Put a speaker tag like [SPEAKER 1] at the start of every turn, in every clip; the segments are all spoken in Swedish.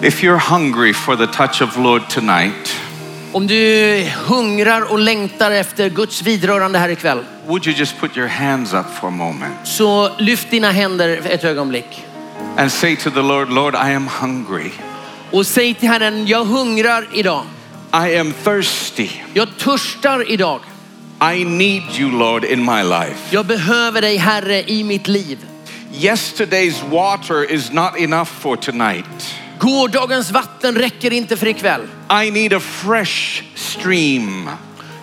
[SPEAKER 1] If you're hungry for the touch of Lord tonight,
[SPEAKER 2] Om du hungrar och längtar efter Guds vidrörande här ikväll
[SPEAKER 1] would you just put your hands up for a moment
[SPEAKER 2] så lyft dina händer ett ögonblick
[SPEAKER 1] and say to the Lord, Lord, I am hungry.
[SPEAKER 2] och säg till Herren, jag hungrar idag.
[SPEAKER 1] I am thirsty.
[SPEAKER 2] Jag törstar idag.
[SPEAKER 1] I need you, Lord, in my life.
[SPEAKER 2] Jag behöver dig Herre i mitt liv.
[SPEAKER 1] Yesterday's water is not enough for tonight.
[SPEAKER 2] Gårdagens vatten räcker inte för ikväll.
[SPEAKER 1] I need a fresh stream.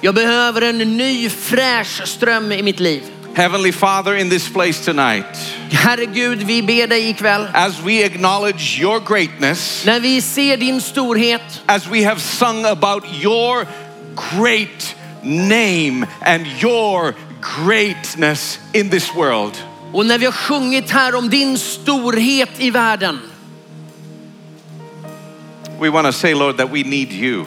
[SPEAKER 2] Jag behöver en ny fräsch ström i mitt liv.
[SPEAKER 1] Heavenly Father, in this place tonight,
[SPEAKER 2] Herre Gud, vi ber dig ikväll.
[SPEAKER 1] as we acknowledge your greatness,
[SPEAKER 2] När vi ser din storhet,
[SPEAKER 1] as we have sung about your great name and your greatness in this world.
[SPEAKER 2] Och när vi har sjungit här om din storhet i världen
[SPEAKER 1] We want to say, Lord, that we need you.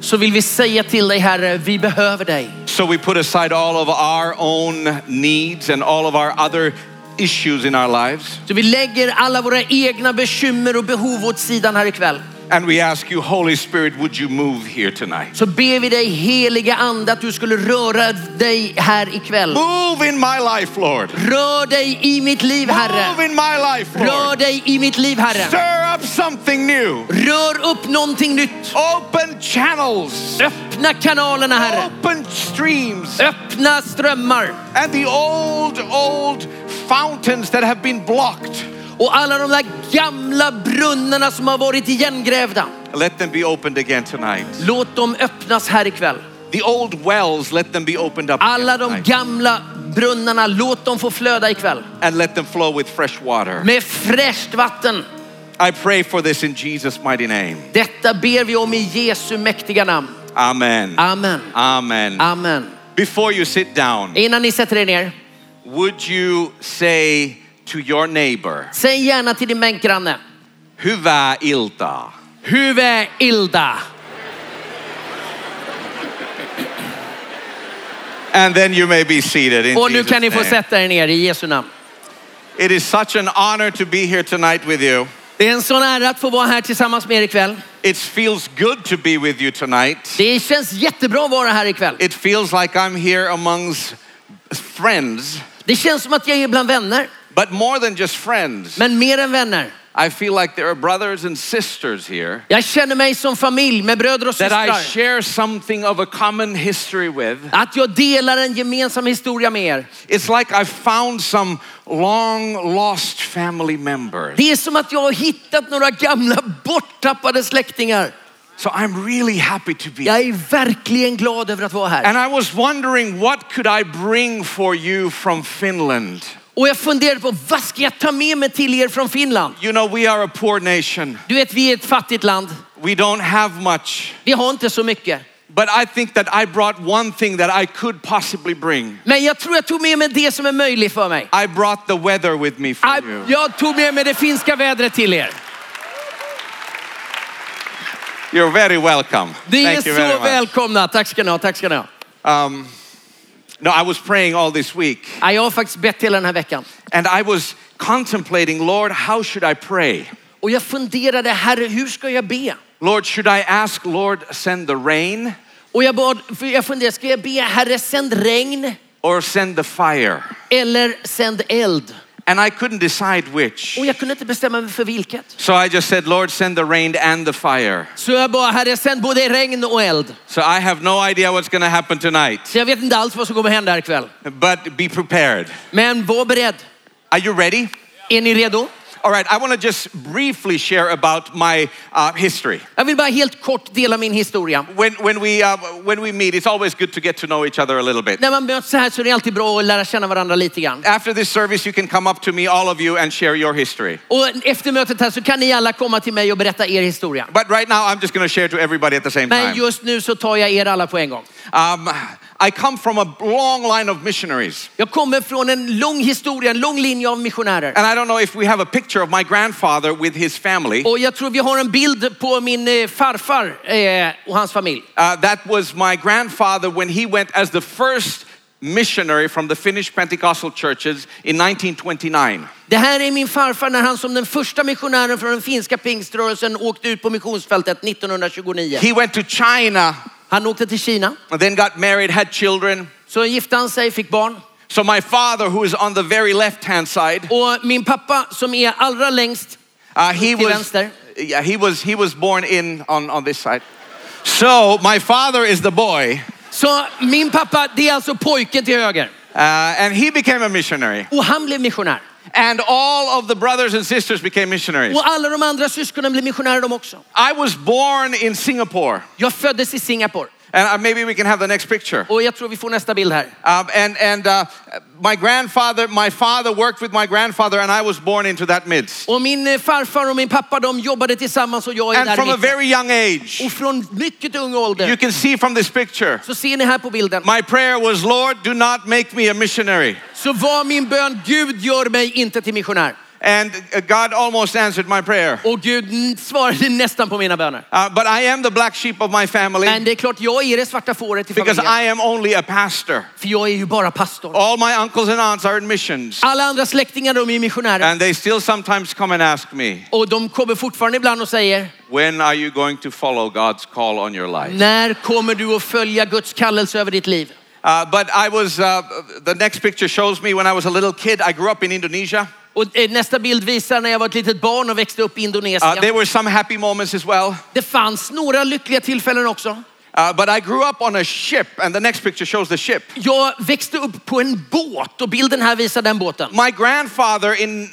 [SPEAKER 2] så vill vi säga till dig Herre, vi behöver dig.
[SPEAKER 1] So we put aside all of our own needs and all of our other issues in our lives.
[SPEAKER 2] Så vi lägger alla våra egna bekymmer och behov åt sidan här ikväll.
[SPEAKER 1] And we ask you, Holy Spirit, would you move here tonight?
[SPEAKER 2] Så ber vi dig heliga ande att du skulle röra dig här ikväll.
[SPEAKER 1] Move in my life, Lord.
[SPEAKER 2] Rör dig i mitt liv
[SPEAKER 1] Move
[SPEAKER 2] Herre.
[SPEAKER 1] in my life,
[SPEAKER 2] Rör
[SPEAKER 1] Lord.
[SPEAKER 2] dig i mitt liv Herre.
[SPEAKER 1] Stir up something new.
[SPEAKER 2] Rör upp någonting nytt.
[SPEAKER 1] Open channels.
[SPEAKER 2] Öppna kanalerna Herre.
[SPEAKER 1] Open streams.
[SPEAKER 2] Öppna strömmar.
[SPEAKER 1] and the old, old fountains that have been blocked,
[SPEAKER 2] Och alla de där gamla brunnarna som har varit igengrävda.
[SPEAKER 1] let them be opened again tonight.
[SPEAKER 2] Låt dem öppnas här ikväll.
[SPEAKER 1] The old wells, let them be opened up
[SPEAKER 2] Alla
[SPEAKER 1] again
[SPEAKER 2] de
[SPEAKER 1] tonight.
[SPEAKER 2] gamla brunnarna, låt dem få flöda ikväll.
[SPEAKER 1] and let them flow with fresh water.
[SPEAKER 2] Med fräscht vatten.
[SPEAKER 1] I pray for this in Jesus' mighty name.
[SPEAKER 2] Detta ber vi om i Jesu mäktiga namn.
[SPEAKER 1] Amen.
[SPEAKER 2] Amen.
[SPEAKER 1] Amen.
[SPEAKER 2] Amen.
[SPEAKER 1] Before you sit down,
[SPEAKER 2] Innan ni sätter er ner,
[SPEAKER 1] would you say to your neighbor,
[SPEAKER 2] säg gärna till din bänkgranne.
[SPEAKER 1] Hyvää iltaa.
[SPEAKER 2] Huvud ilda.
[SPEAKER 1] And then you may be seated in
[SPEAKER 2] Och nu
[SPEAKER 1] Jesus'
[SPEAKER 2] kan ni få
[SPEAKER 1] name.
[SPEAKER 2] sätta er ner i Jesu namn.
[SPEAKER 1] It is such an honor to be here tonight with you.
[SPEAKER 2] Det är en sån ära att få vara här tillsammans med er ikväll.
[SPEAKER 1] It feels good to be with you tonight.
[SPEAKER 2] Det känns jättebra att vara här ikväll.
[SPEAKER 1] it feels like I'm here amongst friends,
[SPEAKER 2] Det känns som att jag är bland vänner,
[SPEAKER 1] but more than just friends.
[SPEAKER 2] men mer än vänner.
[SPEAKER 1] I feel like there are brothers and sisters here
[SPEAKER 2] Jag känner mig som familj med bröder och
[SPEAKER 1] that I
[SPEAKER 2] systrar.
[SPEAKER 1] share something of a common history with.
[SPEAKER 2] Att jag delar en gemensam historia med er.
[SPEAKER 1] It's like I found some long lost family members.
[SPEAKER 2] Det är som att jag har hittat några gamla borttappade släktingar.
[SPEAKER 1] So I'm really happy to be here.
[SPEAKER 2] Jag är verkligen glad över att vara här.
[SPEAKER 1] And I was wondering what could I bring for you from Finland?
[SPEAKER 2] Och jag funderade på vad ska jag ta med mig till er från Finland?
[SPEAKER 1] You know, we are a poor nation.
[SPEAKER 2] Du vet, vi är ett fattigt land.
[SPEAKER 1] We don't have much.
[SPEAKER 2] Vi har inte så mycket.
[SPEAKER 1] But I think that I brought one thing that I could possibly bring.
[SPEAKER 2] Men jag tror jag tog med mig det som är möjligt för mig.
[SPEAKER 1] I brought the weather with me for
[SPEAKER 2] Aj,
[SPEAKER 1] you.
[SPEAKER 2] Jag tog med mig det finska vädret till er.
[SPEAKER 1] You're very welcome.
[SPEAKER 2] Det är
[SPEAKER 1] Thank you very
[SPEAKER 2] så
[SPEAKER 1] much.
[SPEAKER 2] välkomna. Tack ska ni ha. Tack ska ni ha.
[SPEAKER 1] Um, no, I was praying all this week
[SPEAKER 2] Ja, Jag har faktiskt bett hela den här veckan.
[SPEAKER 1] and I was contemplating, Lord, how should I pray?
[SPEAKER 2] Och jag funderade, herre, hur ska jag be?
[SPEAKER 1] Lord, should I ask, Lord, send the rain
[SPEAKER 2] Och jag, bad, för jag funderade, ska jag be, herre, sänd regn
[SPEAKER 1] or send the fire?
[SPEAKER 2] eller sänd eld?
[SPEAKER 1] And I couldn't decide which.
[SPEAKER 2] Och jag kunde inte bestämma mig för vilket.
[SPEAKER 1] So I just said, Lord, send the rain and the fire.
[SPEAKER 2] Så jag bara, herre, sänd både regn och eld.
[SPEAKER 1] So I have no idea what's going to happen tonight,
[SPEAKER 2] Så jag vet inte alls vad som kommer hända här ikväll.
[SPEAKER 1] but be prepared.
[SPEAKER 2] Men var beredd.
[SPEAKER 1] Are you ready?
[SPEAKER 2] Är ni redo?
[SPEAKER 1] All right, I want to just briefly share about my uh, history.
[SPEAKER 2] Jag vill bara helt kort dela min historia.
[SPEAKER 1] When, when, we, uh, when we meet, it's always good to get to know each other a little bit.
[SPEAKER 2] När man möts så här så är det alltid bra att lära känna varandra lite grann.
[SPEAKER 1] After this service, you can come up to me, all of you, and share your history.
[SPEAKER 2] Och efter mötet här så kan ni alla komma till mig och berätta er historia.
[SPEAKER 1] But right now, I'm just going to share to everybody at the same
[SPEAKER 2] Men
[SPEAKER 1] time.
[SPEAKER 2] just nu så tar jag er alla på en gång.
[SPEAKER 1] Um, I come from a long line of missionaries.
[SPEAKER 2] Jag kommer från en lång historia, en lång linje av missionärer.
[SPEAKER 1] And I don't know if we have a picture of my grandfather with his family.
[SPEAKER 2] Och jag tror vi har en bild på min eh, farfar eh, och hans familj.
[SPEAKER 1] Uh, that was my grandfather when he went as the first missionary from the Finnish Pentecostal churches in 1929.
[SPEAKER 2] Det här är min farfar när han som den första missionären från den finska pingströrelsen åkte ut på missionsfältet 1929.
[SPEAKER 1] He went to China
[SPEAKER 2] Han åkte till Kina,
[SPEAKER 1] and then got married, had children.
[SPEAKER 2] så gifte han sig, fick barn.
[SPEAKER 1] So my father, who is on the very left hand side,
[SPEAKER 2] Och min pappa som är allra längst,
[SPEAKER 1] uh, he
[SPEAKER 2] Till
[SPEAKER 1] was
[SPEAKER 2] vänster.
[SPEAKER 1] yeah, he was he was born in on, on this side. So my father is the boy,
[SPEAKER 2] så min pappa det är alltså pojken till höger.
[SPEAKER 1] uh, and he became a missionary.
[SPEAKER 2] Och han blev missionär.
[SPEAKER 1] And all of the brothers and sisters became missionaries.
[SPEAKER 2] Och alla de andra syskonen blev missionärer de också.
[SPEAKER 1] I was born in Singapore,
[SPEAKER 2] Jag föddes i Singapore
[SPEAKER 1] and uh, maybe we can have the next picture.
[SPEAKER 2] och jag tror vi får nästa bild här.
[SPEAKER 1] Um, and and uh, my grandfather, my father worked with my grandfather, and I was born into that midst.
[SPEAKER 2] Och min eh, farfar och min pappa de jobbade tillsammans och jag är
[SPEAKER 1] And
[SPEAKER 2] där i
[SPEAKER 1] from a
[SPEAKER 2] mitten.
[SPEAKER 1] very young age,
[SPEAKER 2] Och från mycket ung
[SPEAKER 1] you
[SPEAKER 2] ålder
[SPEAKER 1] can see from this picture,
[SPEAKER 2] så ser ni här på bilden.
[SPEAKER 1] my prayer was, Lord, do not make me a missionary.
[SPEAKER 2] Så var min bön, Gud gör mig inte till missionär.
[SPEAKER 1] And uh, God almost answered my prayer.
[SPEAKER 2] Och Gud n- svarade nästan på mina böner.
[SPEAKER 1] Uh, but I am the black sheep of my family
[SPEAKER 2] Men det är klart, jag är det svarta fåret i
[SPEAKER 1] because
[SPEAKER 2] familjen.
[SPEAKER 1] I am only a pastor.
[SPEAKER 2] För jag är ju bara pastor.
[SPEAKER 1] All my uncles and aunts are in missions,
[SPEAKER 2] Alla andra släktingar de är missionärer.
[SPEAKER 1] and they still sometimes come and ask me,
[SPEAKER 2] Och de kommer fortfarande ibland och säger,
[SPEAKER 1] When are you going to follow God's call on your life?
[SPEAKER 2] när kommer du att följa Guds kallelse över ditt liv?
[SPEAKER 1] Uh, but I was, uh, the next picture shows me when I was a little kid. I grew up in Indonesia.
[SPEAKER 2] Och eh, nästa bild visar när jag var ett litet barn och växte upp i
[SPEAKER 1] Uh,
[SPEAKER 2] Indonesien.
[SPEAKER 1] There were some happy moments as well.
[SPEAKER 2] Det fanns några lyckliga tillfällen också.
[SPEAKER 1] Uh, but I grew up on a ship, and the next picture shows the ship.
[SPEAKER 2] Jag växte upp på en båt och bilden här visar den båten.
[SPEAKER 1] My grandfather in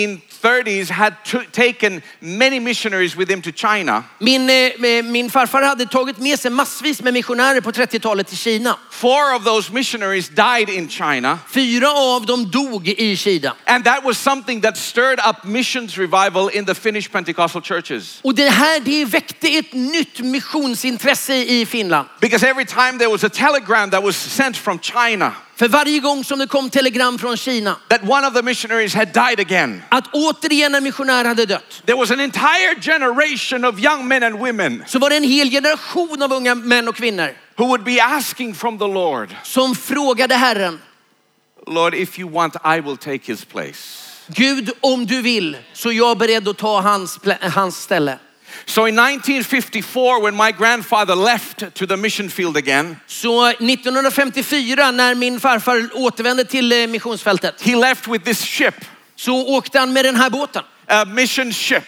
[SPEAKER 1] 1930s had t- taken many missionaries with him to China.
[SPEAKER 2] Min, eh, eh, min farfar hade tagit med sig massvis med missionärer på 30-talet till Kina.
[SPEAKER 1] Four of those missionaries died in China,
[SPEAKER 2] Fyra av dem dog i Kina.
[SPEAKER 1] and that was something that stirred up missions revival in the Finnish Pentecostal churches.
[SPEAKER 2] Och det här det väckte ett nytt missionsintresse i Finland.
[SPEAKER 1] Because every time there was a telegram that was sent from China
[SPEAKER 2] För varje gång som det kom telegram från Kina
[SPEAKER 1] that one of the missionaries had died again,
[SPEAKER 2] att återigen en missionär hade dött
[SPEAKER 1] there was an entire generation of young men and women
[SPEAKER 2] så var det en hel generation av unga män och kvinnor
[SPEAKER 1] who would be asking from the Lord,
[SPEAKER 2] som frågade Herren,
[SPEAKER 1] Lord, if you want, I will take his place.
[SPEAKER 2] Gud om du vill så är jag beredd att ta hans, plä- hans ställe.
[SPEAKER 1] So in 1954, when my grandfather left to the mission field again,
[SPEAKER 2] Så 1954 när min farfar återvände till eh, missionsfältet
[SPEAKER 1] he left with this ship,
[SPEAKER 2] så åkte han med den här båten.
[SPEAKER 1] a mission ship.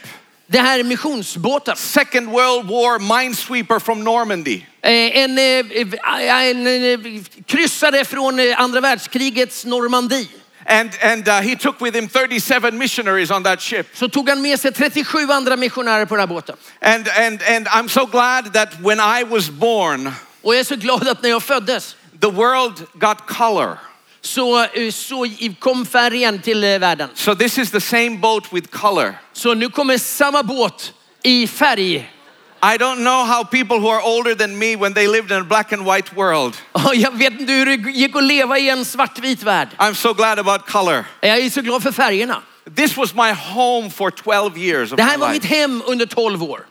[SPEAKER 2] Det här är missionsbåten.
[SPEAKER 1] Second World War minesweeper from Normandy.
[SPEAKER 2] Eh, En, eh, eh, en, eh, kryssare från eh, andra världskrigets Normandie.
[SPEAKER 1] And, and uh, he took with him 37 missionaries on that ship.
[SPEAKER 2] Så tog han med sig 37 andra missionärer på den här båten.
[SPEAKER 1] And, and, and I'm so glad that when I was born,
[SPEAKER 2] Och jag är så glad att när jag föddes
[SPEAKER 1] the world got color.
[SPEAKER 2] så, eh, så i- kom färgen till eh, världen.
[SPEAKER 1] So this is the same boat with color.
[SPEAKER 2] Så nu kommer samma båt i färg.
[SPEAKER 1] I don't know how people who are older than me, when they lived in a black and white world,
[SPEAKER 2] Ja, Jag vet inte hur det gick att leva i en svartvit värld.
[SPEAKER 1] I'm so glad about color.
[SPEAKER 2] Jag är så glad för färgerna.
[SPEAKER 1] This was my home for 12 years of
[SPEAKER 2] Det
[SPEAKER 1] my
[SPEAKER 2] här var mitt
[SPEAKER 1] life.
[SPEAKER 2] hem under 12 år.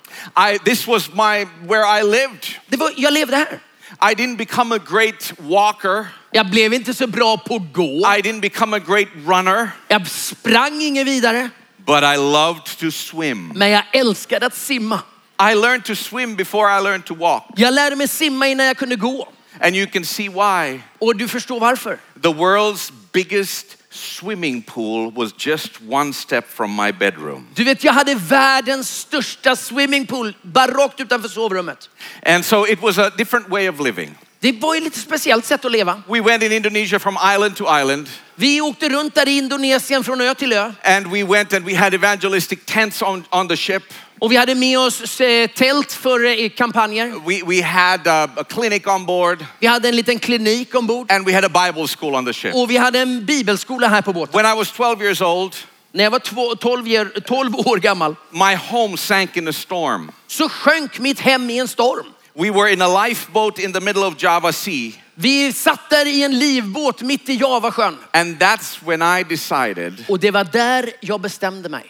[SPEAKER 1] I, this was my where I lived.
[SPEAKER 2] Det var, jag levde här.
[SPEAKER 1] I didn't become a great walker.
[SPEAKER 2] Jag blev inte så bra på att gå.
[SPEAKER 1] I didn't become a great runner,
[SPEAKER 2] Jag sprang ingen vidare.
[SPEAKER 1] but I loved to swim.
[SPEAKER 2] Men jag älskade att simma.
[SPEAKER 1] I learned to swim before I learned to walk.
[SPEAKER 2] Jag lärde mig simma innan jag kunde gå.
[SPEAKER 1] And you can see why.
[SPEAKER 2] Och du förstår varför.
[SPEAKER 1] The world's biggest swimming pool was just one step from my bedroom.
[SPEAKER 2] Du vet, jag hade världens största swimmingpool bara rakt utanför sovrummet.
[SPEAKER 1] And so it was a different way of living.
[SPEAKER 2] Det var ju lite speciellt sätt att leva.
[SPEAKER 1] We went in Indonesia from island to island,
[SPEAKER 2] Vi åkte runt där i Indonesien från ö till ö
[SPEAKER 1] and we went and we had evangelistic tents on, on the ship.
[SPEAKER 2] och vi hade med oss eh, tält för eh, kampanjer.
[SPEAKER 1] We, we had uh, a, a clinic on board,
[SPEAKER 2] Vi hade en liten klinik ombord
[SPEAKER 1] and we had a Bible school on the ship.
[SPEAKER 2] och vi hade en bibelskola här på båten.
[SPEAKER 1] When I was 12 years old,
[SPEAKER 2] När jag var två- 12 år, 12 år gammal
[SPEAKER 1] my home sank in a storm.
[SPEAKER 2] så sjönk mitt hem i en storm.
[SPEAKER 1] We were in a lifeboat in the middle of Java Sea,
[SPEAKER 2] Vi satt där i en livbåt mitt i Javasjön
[SPEAKER 1] and that's when I decided
[SPEAKER 2] och det var där jag bestämde mig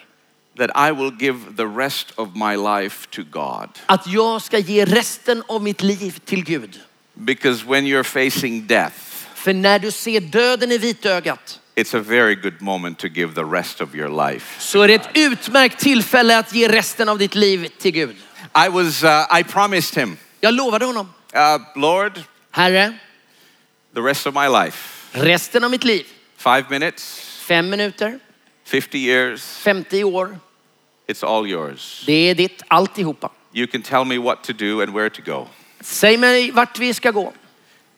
[SPEAKER 1] that I will give the rest of my life to God.
[SPEAKER 2] att jag ska ge resten av mitt liv till Gud.
[SPEAKER 1] Because when you're facing death,
[SPEAKER 2] För när du ser döden i vitögat
[SPEAKER 1] it's a very good moment to give the rest of your life.
[SPEAKER 2] så är det ett utmärkt tillfälle att ge resten av ditt liv till Gud.
[SPEAKER 1] I was, uh, I promised him,
[SPEAKER 2] Jag lovade honom,
[SPEAKER 1] uh, Lord,
[SPEAKER 2] Herre,
[SPEAKER 1] the rest of my life,
[SPEAKER 2] resten av mitt liv,
[SPEAKER 1] five minutes,
[SPEAKER 2] fem minuter,
[SPEAKER 1] 50 years,
[SPEAKER 2] 50 år,
[SPEAKER 1] it's all yours.
[SPEAKER 2] det är ditt alltihopa.
[SPEAKER 1] You can tell me what to do and where to go.
[SPEAKER 2] Säg mig vart vi ska gå.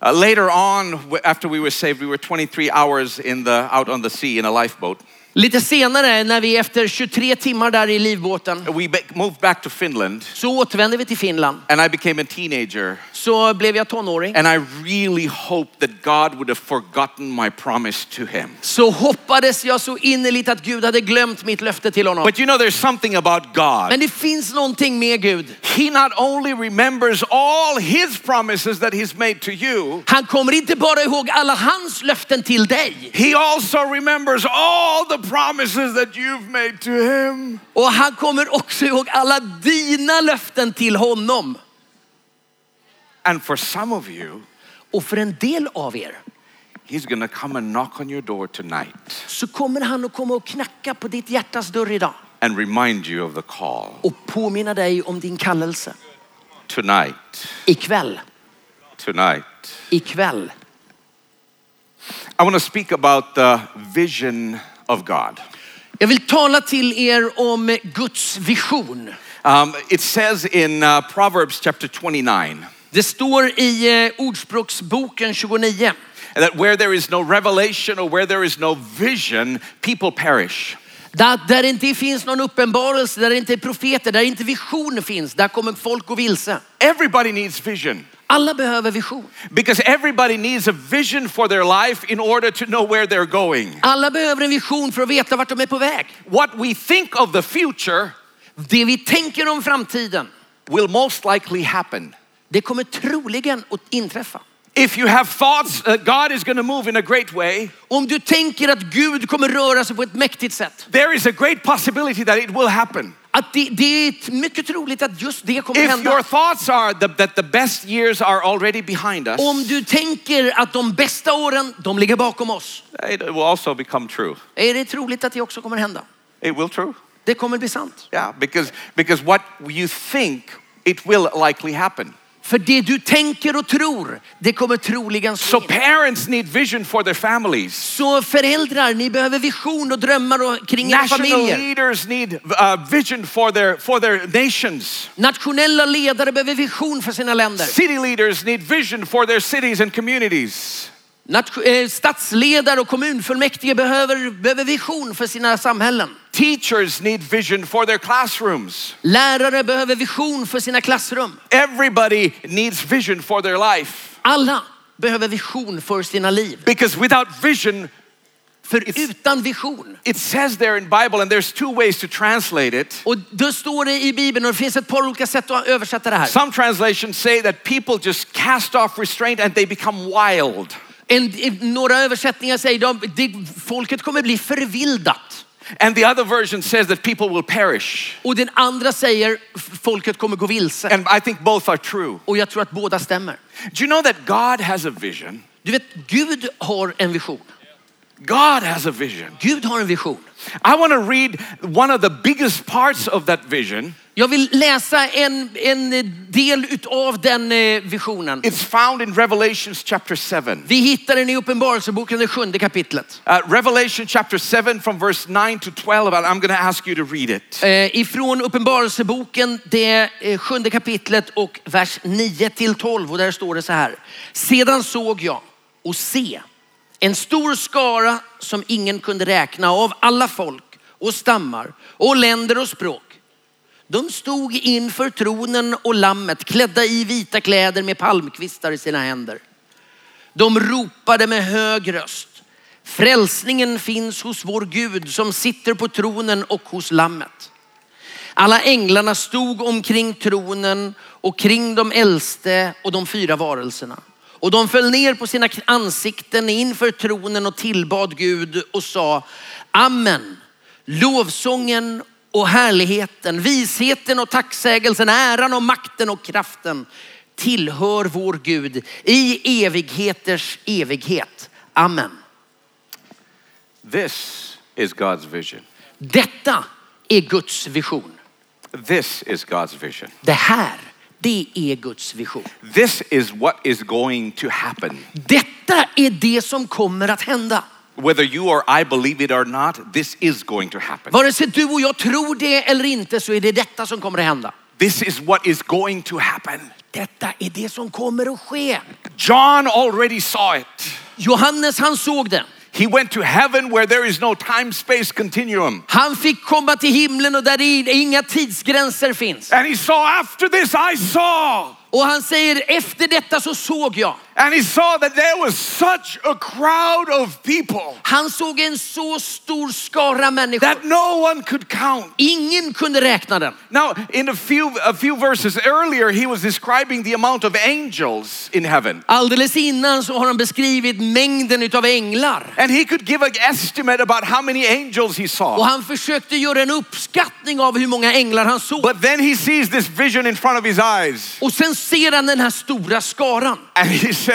[SPEAKER 1] Uh, later on, w- after we were saved, we were 23 hours in the, out on the sea in a lifeboat.
[SPEAKER 2] Lite senare när vi efter 23 timmar där i livbåten
[SPEAKER 1] We ba- moved back to Finland,
[SPEAKER 2] så återvände vi till Finland.
[SPEAKER 1] and I became a teenager.
[SPEAKER 2] Så blev jag tonåring.
[SPEAKER 1] And I really hoped that God would have forgotten my promise to him.
[SPEAKER 2] Så hoppades jag så innerligt att Gud hade glömt mitt löfte till honom.
[SPEAKER 1] But you know, there's something about God.
[SPEAKER 2] Men det finns någonting med Gud.
[SPEAKER 1] He not only remembers all his promises that he's made to you,
[SPEAKER 2] Han kommer inte bara ihåg alla hans löften till dig.
[SPEAKER 1] he also remembers all the promises that you've made to him.
[SPEAKER 2] Och han kommer också ihåg alla dina löften till honom.
[SPEAKER 1] And for some of you,
[SPEAKER 2] Och för en del av er
[SPEAKER 1] he's gonna come and knock on your door tonight
[SPEAKER 2] så kommer han att komma och knacka på ditt hjärtas dörr idag
[SPEAKER 1] and remind you of the call.
[SPEAKER 2] och påminna dig om din kallelse.
[SPEAKER 1] Tonight,
[SPEAKER 2] Ikväll,
[SPEAKER 1] tonight.
[SPEAKER 2] ikväll.
[SPEAKER 1] I wanna speak about the vision of God.
[SPEAKER 2] Jag vill tala till er om Guds vision.
[SPEAKER 1] Um, it says in uh, Proverbs chapter 29
[SPEAKER 2] Det står i eh, Ordspråksboken 29.
[SPEAKER 1] that where there is no revelation or where there is no vision, people perish.
[SPEAKER 2] Där, där det inte finns någon uppenbarelse, där det inte är profeter, där inte vision finns, där kommer folk gå vilse.
[SPEAKER 1] Everybody needs vision
[SPEAKER 2] Alla behöver vision.
[SPEAKER 1] because everybody needs a vision for their life in order to know where they're going.
[SPEAKER 2] Alla behöver en vision för att veta vart de är på väg.
[SPEAKER 1] What we think of the future
[SPEAKER 2] Det vi tänker om framtiden,
[SPEAKER 1] will most likely happen.
[SPEAKER 2] det kommer troligen att inträffa.
[SPEAKER 1] If you have thoughts that God is going to move in a great way,
[SPEAKER 2] Om du tänker att Gud kommer röra sig på ett mäktigt sätt,
[SPEAKER 1] there is a great possibility that it will happen.
[SPEAKER 2] att det, det är mycket troligt att just det kommer
[SPEAKER 1] If your
[SPEAKER 2] hända.
[SPEAKER 1] thoughts are the, that the best years are already behind us,
[SPEAKER 2] Om du tänker att de bästa åren, de ligger bakom oss,
[SPEAKER 1] it will also become true.
[SPEAKER 2] är det troligt att det också kommer hända.
[SPEAKER 1] It will true.
[SPEAKER 2] Det kommer bli sant.
[SPEAKER 1] Yeah, because because what you think it will likely happen.
[SPEAKER 2] För det du tänker och tror, det kommer troligen
[SPEAKER 1] So
[SPEAKER 2] ske.
[SPEAKER 1] parents need vision for their families.
[SPEAKER 2] Så föräldrar, ni behöver vision och drömmar och, kring era
[SPEAKER 1] National
[SPEAKER 2] familjer.
[SPEAKER 1] leaders need uh, vision for their for their nations.
[SPEAKER 2] Nationella ledare behöver vision för sina länder.
[SPEAKER 1] City leaders need vision for their cities and communities.
[SPEAKER 2] Nation, eh, statsledare och kommunfullmäktige behöver, behöver vision för sina samhällen.
[SPEAKER 1] Teachers need vision for their classrooms.
[SPEAKER 2] Lärare behöver vision för sina klassrum.
[SPEAKER 1] Everybody needs vision for their life
[SPEAKER 2] Alla behöver vision för sina liv.
[SPEAKER 1] because without vision,
[SPEAKER 2] För utan vision.
[SPEAKER 1] it says there in Bible, and there's two ways to translate it.
[SPEAKER 2] Och då står det i Bibeln, och det finns ett par olika sätt att översätta det här.
[SPEAKER 1] Some translations say that people just cast off restraint and they become wild.
[SPEAKER 2] En, i- några översättningar säger de, det, folket kommer bli förvildat.
[SPEAKER 1] And the other version says that people will perish.
[SPEAKER 2] Och den andra säger, f- folket kommer gå vilse.
[SPEAKER 1] And I think both are true.
[SPEAKER 2] Och jag tror att båda stämmer.
[SPEAKER 1] Do you know that God has a vision?
[SPEAKER 2] Du vet, Gud har en vision.
[SPEAKER 1] God has a vision.
[SPEAKER 2] Gud har en vision.
[SPEAKER 1] I want to read one of the biggest parts of that vision.
[SPEAKER 2] Jag vill läsa en, en del utav den eh, visionen.
[SPEAKER 1] It's found in Revelations chapter 7.
[SPEAKER 2] Vi hittar den i Uppenbarelseboken, det sjunde kapitlet.
[SPEAKER 1] Uh, Revelation chapter 7 from verse 9 to 12, and I'm going to ask you to read it.
[SPEAKER 2] Eh, Ifrån Uppenbarelseboken, det eh, sjunde kapitlet och vers 9 till 12. Och där står det så här. Sedan såg jag och se en stor skara som ingen kunde räkna av alla folk och stammar och länder och språk. De stod inför tronen och lammet klädda i vita kläder med palmkvistar i sina händer. De ropade med hög röst. Frälsningen finns hos vår Gud som sitter på tronen och hos lammet. Alla änglarna stod omkring tronen och kring de äldste och de fyra varelserna. Och de föll ner på sina ansikten inför tronen och tillbad Gud och sa Amen. Lovsången och härligheten, visheten och tacksägelsen, äran och makten och kraften tillhör vår Gud i evigheters evighet. Amen.
[SPEAKER 1] This is God's vision.
[SPEAKER 2] Detta är Guds vision.
[SPEAKER 1] This is God's vision.
[SPEAKER 2] Det här, det är Guds vision.
[SPEAKER 1] This is what is going to happen.
[SPEAKER 2] Detta är det som kommer att hända.
[SPEAKER 1] Whether you or I believe it or not, this is going to happen.
[SPEAKER 2] Vare sig du och jag tror det eller inte så är det detta som kommer att hända.
[SPEAKER 1] This is what is going to happen.
[SPEAKER 2] Detta är det som kommer att ske.
[SPEAKER 1] John already saw it.
[SPEAKER 2] Johannes han såg det.
[SPEAKER 1] He went to heaven where there is no time space continuum.
[SPEAKER 2] Han fick komma till himlen och där det inga tidsgränser finns.
[SPEAKER 1] And he saw after this, I saw.
[SPEAKER 2] Och han säger efter detta så såg jag.
[SPEAKER 1] And he saw that there was such a crowd of people
[SPEAKER 2] Han såg en så stor skara
[SPEAKER 1] that
[SPEAKER 2] människor.
[SPEAKER 1] no one could count.
[SPEAKER 2] Ingen kunde räkna den.
[SPEAKER 1] Now, in a few, a few verses earlier, he was describing the amount of angels in heaven.
[SPEAKER 2] Alldeles innan så har han beskrivit mängden utav änglar.
[SPEAKER 1] And he could give an estimate about how many angels he
[SPEAKER 2] Och
[SPEAKER 1] saw.
[SPEAKER 2] han försökte göra en uppskattning av hur många änglar han såg.
[SPEAKER 1] But then he sees this vision in front of his eyes.
[SPEAKER 2] Och sen ser han den här stora skaran.
[SPEAKER 1] And he says,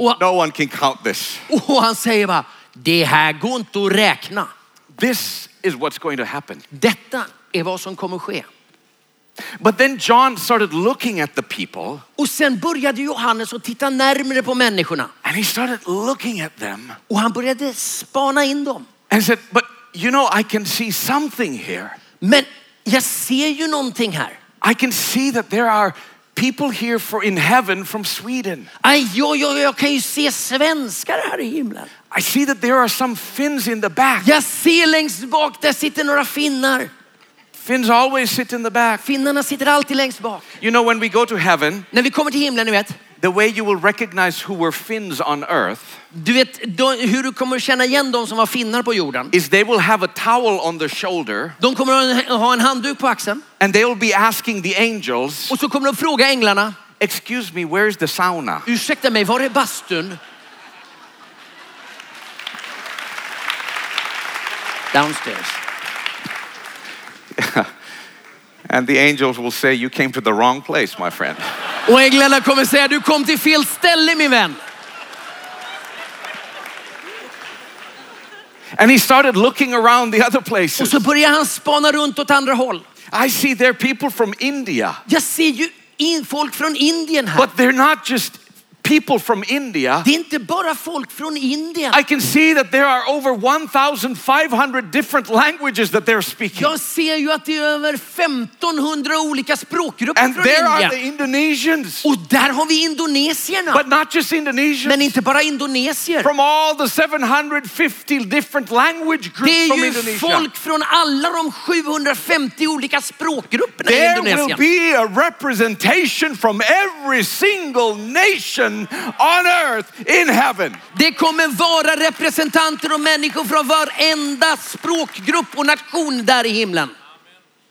[SPEAKER 2] Och,
[SPEAKER 1] No one can count this.
[SPEAKER 2] och han säger bara, det här går inte att räkna.
[SPEAKER 1] This is what's going to happen.
[SPEAKER 2] Detta är vad som kommer ske.
[SPEAKER 1] But then John started looking at the people
[SPEAKER 2] Och sen började Johannes att titta närmre på människorna.
[SPEAKER 1] and he started looking at them
[SPEAKER 2] Och han började spana in dem.
[SPEAKER 1] and said, But you know, I can see something here.
[SPEAKER 2] Men jag ser ju någonting här.
[SPEAKER 1] I can see that there are people here for in heaven from Sweden.
[SPEAKER 2] Aj, jag, jag, jag kan ju se svenskar här i himlen.
[SPEAKER 1] I see that there are some Finns in the back.
[SPEAKER 2] Jag ser längst bak, där sitter några finnar.
[SPEAKER 1] Finns always sit in the back.
[SPEAKER 2] Finnarna sitter alltid längst bak.
[SPEAKER 1] You know, when we go to heaven,
[SPEAKER 2] När vi kommer till himlen, ni vet.
[SPEAKER 1] the way you will recognize who were Finns on earth
[SPEAKER 2] Du vet de, hur du kommer känna igen de som var finnar på jorden.
[SPEAKER 1] is they will have a towel on their shoulder
[SPEAKER 2] De kommer att ha en handduk på axeln.
[SPEAKER 1] and they will be asking the angels,
[SPEAKER 2] Och så kommer de fråga änglarna.
[SPEAKER 1] Excuse me, where's the sauna?
[SPEAKER 2] Ursäkta mig, var är bastun? Downstairs.
[SPEAKER 1] And the angels will say, You came to the wrong place, my friend.
[SPEAKER 2] Och änglarna kommer säga, du kom till fel ställe min vän.
[SPEAKER 1] And he started looking around the other
[SPEAKER 2] Och
[SPEAKER 1] places.
[SPEAKER 2] så börjar han spana runt åt andra håll.
[SPEAKER 1] I see there are people from India,
[SPEAKER 2] Jag ser ju in folk från Indien här.
[SPEAKER 1] but they're not just people from India.
[SPEAKER 2] Det är inte bara folk från Indien.
[SPEAKER 1] I can see that there are over 1,500 different languages that they're speaking.
[SPEAKER 2] Jag ser ju att det är över 1500 olika språkgrupper
[SPEAKER 1] And
[SPEAKER 2] från
[SPEAKER 1] there are the
[SPEAKER 2] Indien.
[SPEAKER 1] Indonesians,
[SPEAKER 2] Och där har vi indonesierna.
[SPEAKER 1] but not just
[SPEAKER 2] Men
[SPEAKER 1] Indonesians.
[SPEAKER 2] inte bara indonesier.
[SPEAKER 1] From all the 750 different language
[SPEAKER 2] Det
[SPEAKER 1] groups
[SPEAKER 2] är
[SPEAKER 1] from
[SPEAKER 2] ju
[SPEAKER 1] Indonesia,
[SPEAKER 2] folk från alla de 750 olika språkgrupperna i
[SPEAKER 1] there will
[SPEAKER 2] Indonesien.
[SPEAKER 1] be a representation from every single nation on earth in heaven.
[SPEAKER 2] Det kommer vara representanter och människor från varenda språkgrupp och nation där i himlen.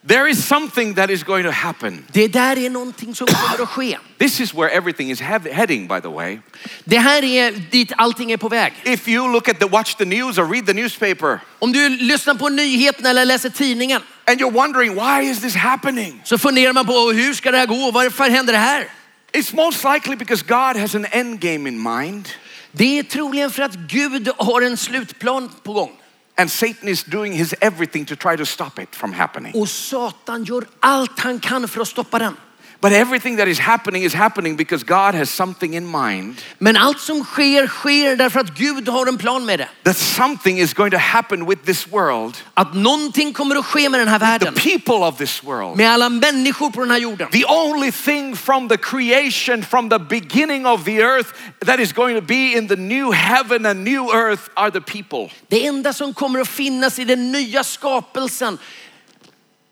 [SPEAKER 1] There is something that is going to happen.
[SPEAKER 2] Det där är någonting som kommer att ske.
[SPEAKER 1] This is where everything is hev- heading, by the way.
[SPEAKER 2] Det här är dit allting är på väg.
[SPEAKER 1] If you look at the watch the news or read the newspaper
[SPEAKER 2] Om du lyssnar på nyheterna eller läser tidningen
[SPEAKER 1] and you're wondering why is this happening?
[SPEAKER 2] så funderar man på hur ska det här gå? Varför händer det här?
[SPEAKER 1] It's most likely because God has an end game in mind
[SPEAKER 2] Det är troligen för att Gud har en slutplan på gång.
[SPEAKER 1] and Satan is doing his everything to try to stop it from happening.
[SPEAKER 2] Och Satan gör allt han kan för att stoppa den.
[SPEAKER 1] But everything that is happening is happening because God has something in mind
[SPEAKER 2] Men allt som sker, sker därför att Gud har en plan med det.
[SPEAKER 1] that something is going to happen with this world,
[SPEAKER 2] Att någonting kommer att ske med den här
[SPEAKER 1] the
[SPEAKER 2] världen.
[SPEAKER 1] people of this world.
[SPEAKER 2] Med alla människor på den här jorden.
[SPEAKER 1] The only thing from the creation, from the beginning of the earth, that is going to be in the new heaven and new earth are the people.
[SPEAKER 2] Det enda som kommer att finnas i den nya skapelsen,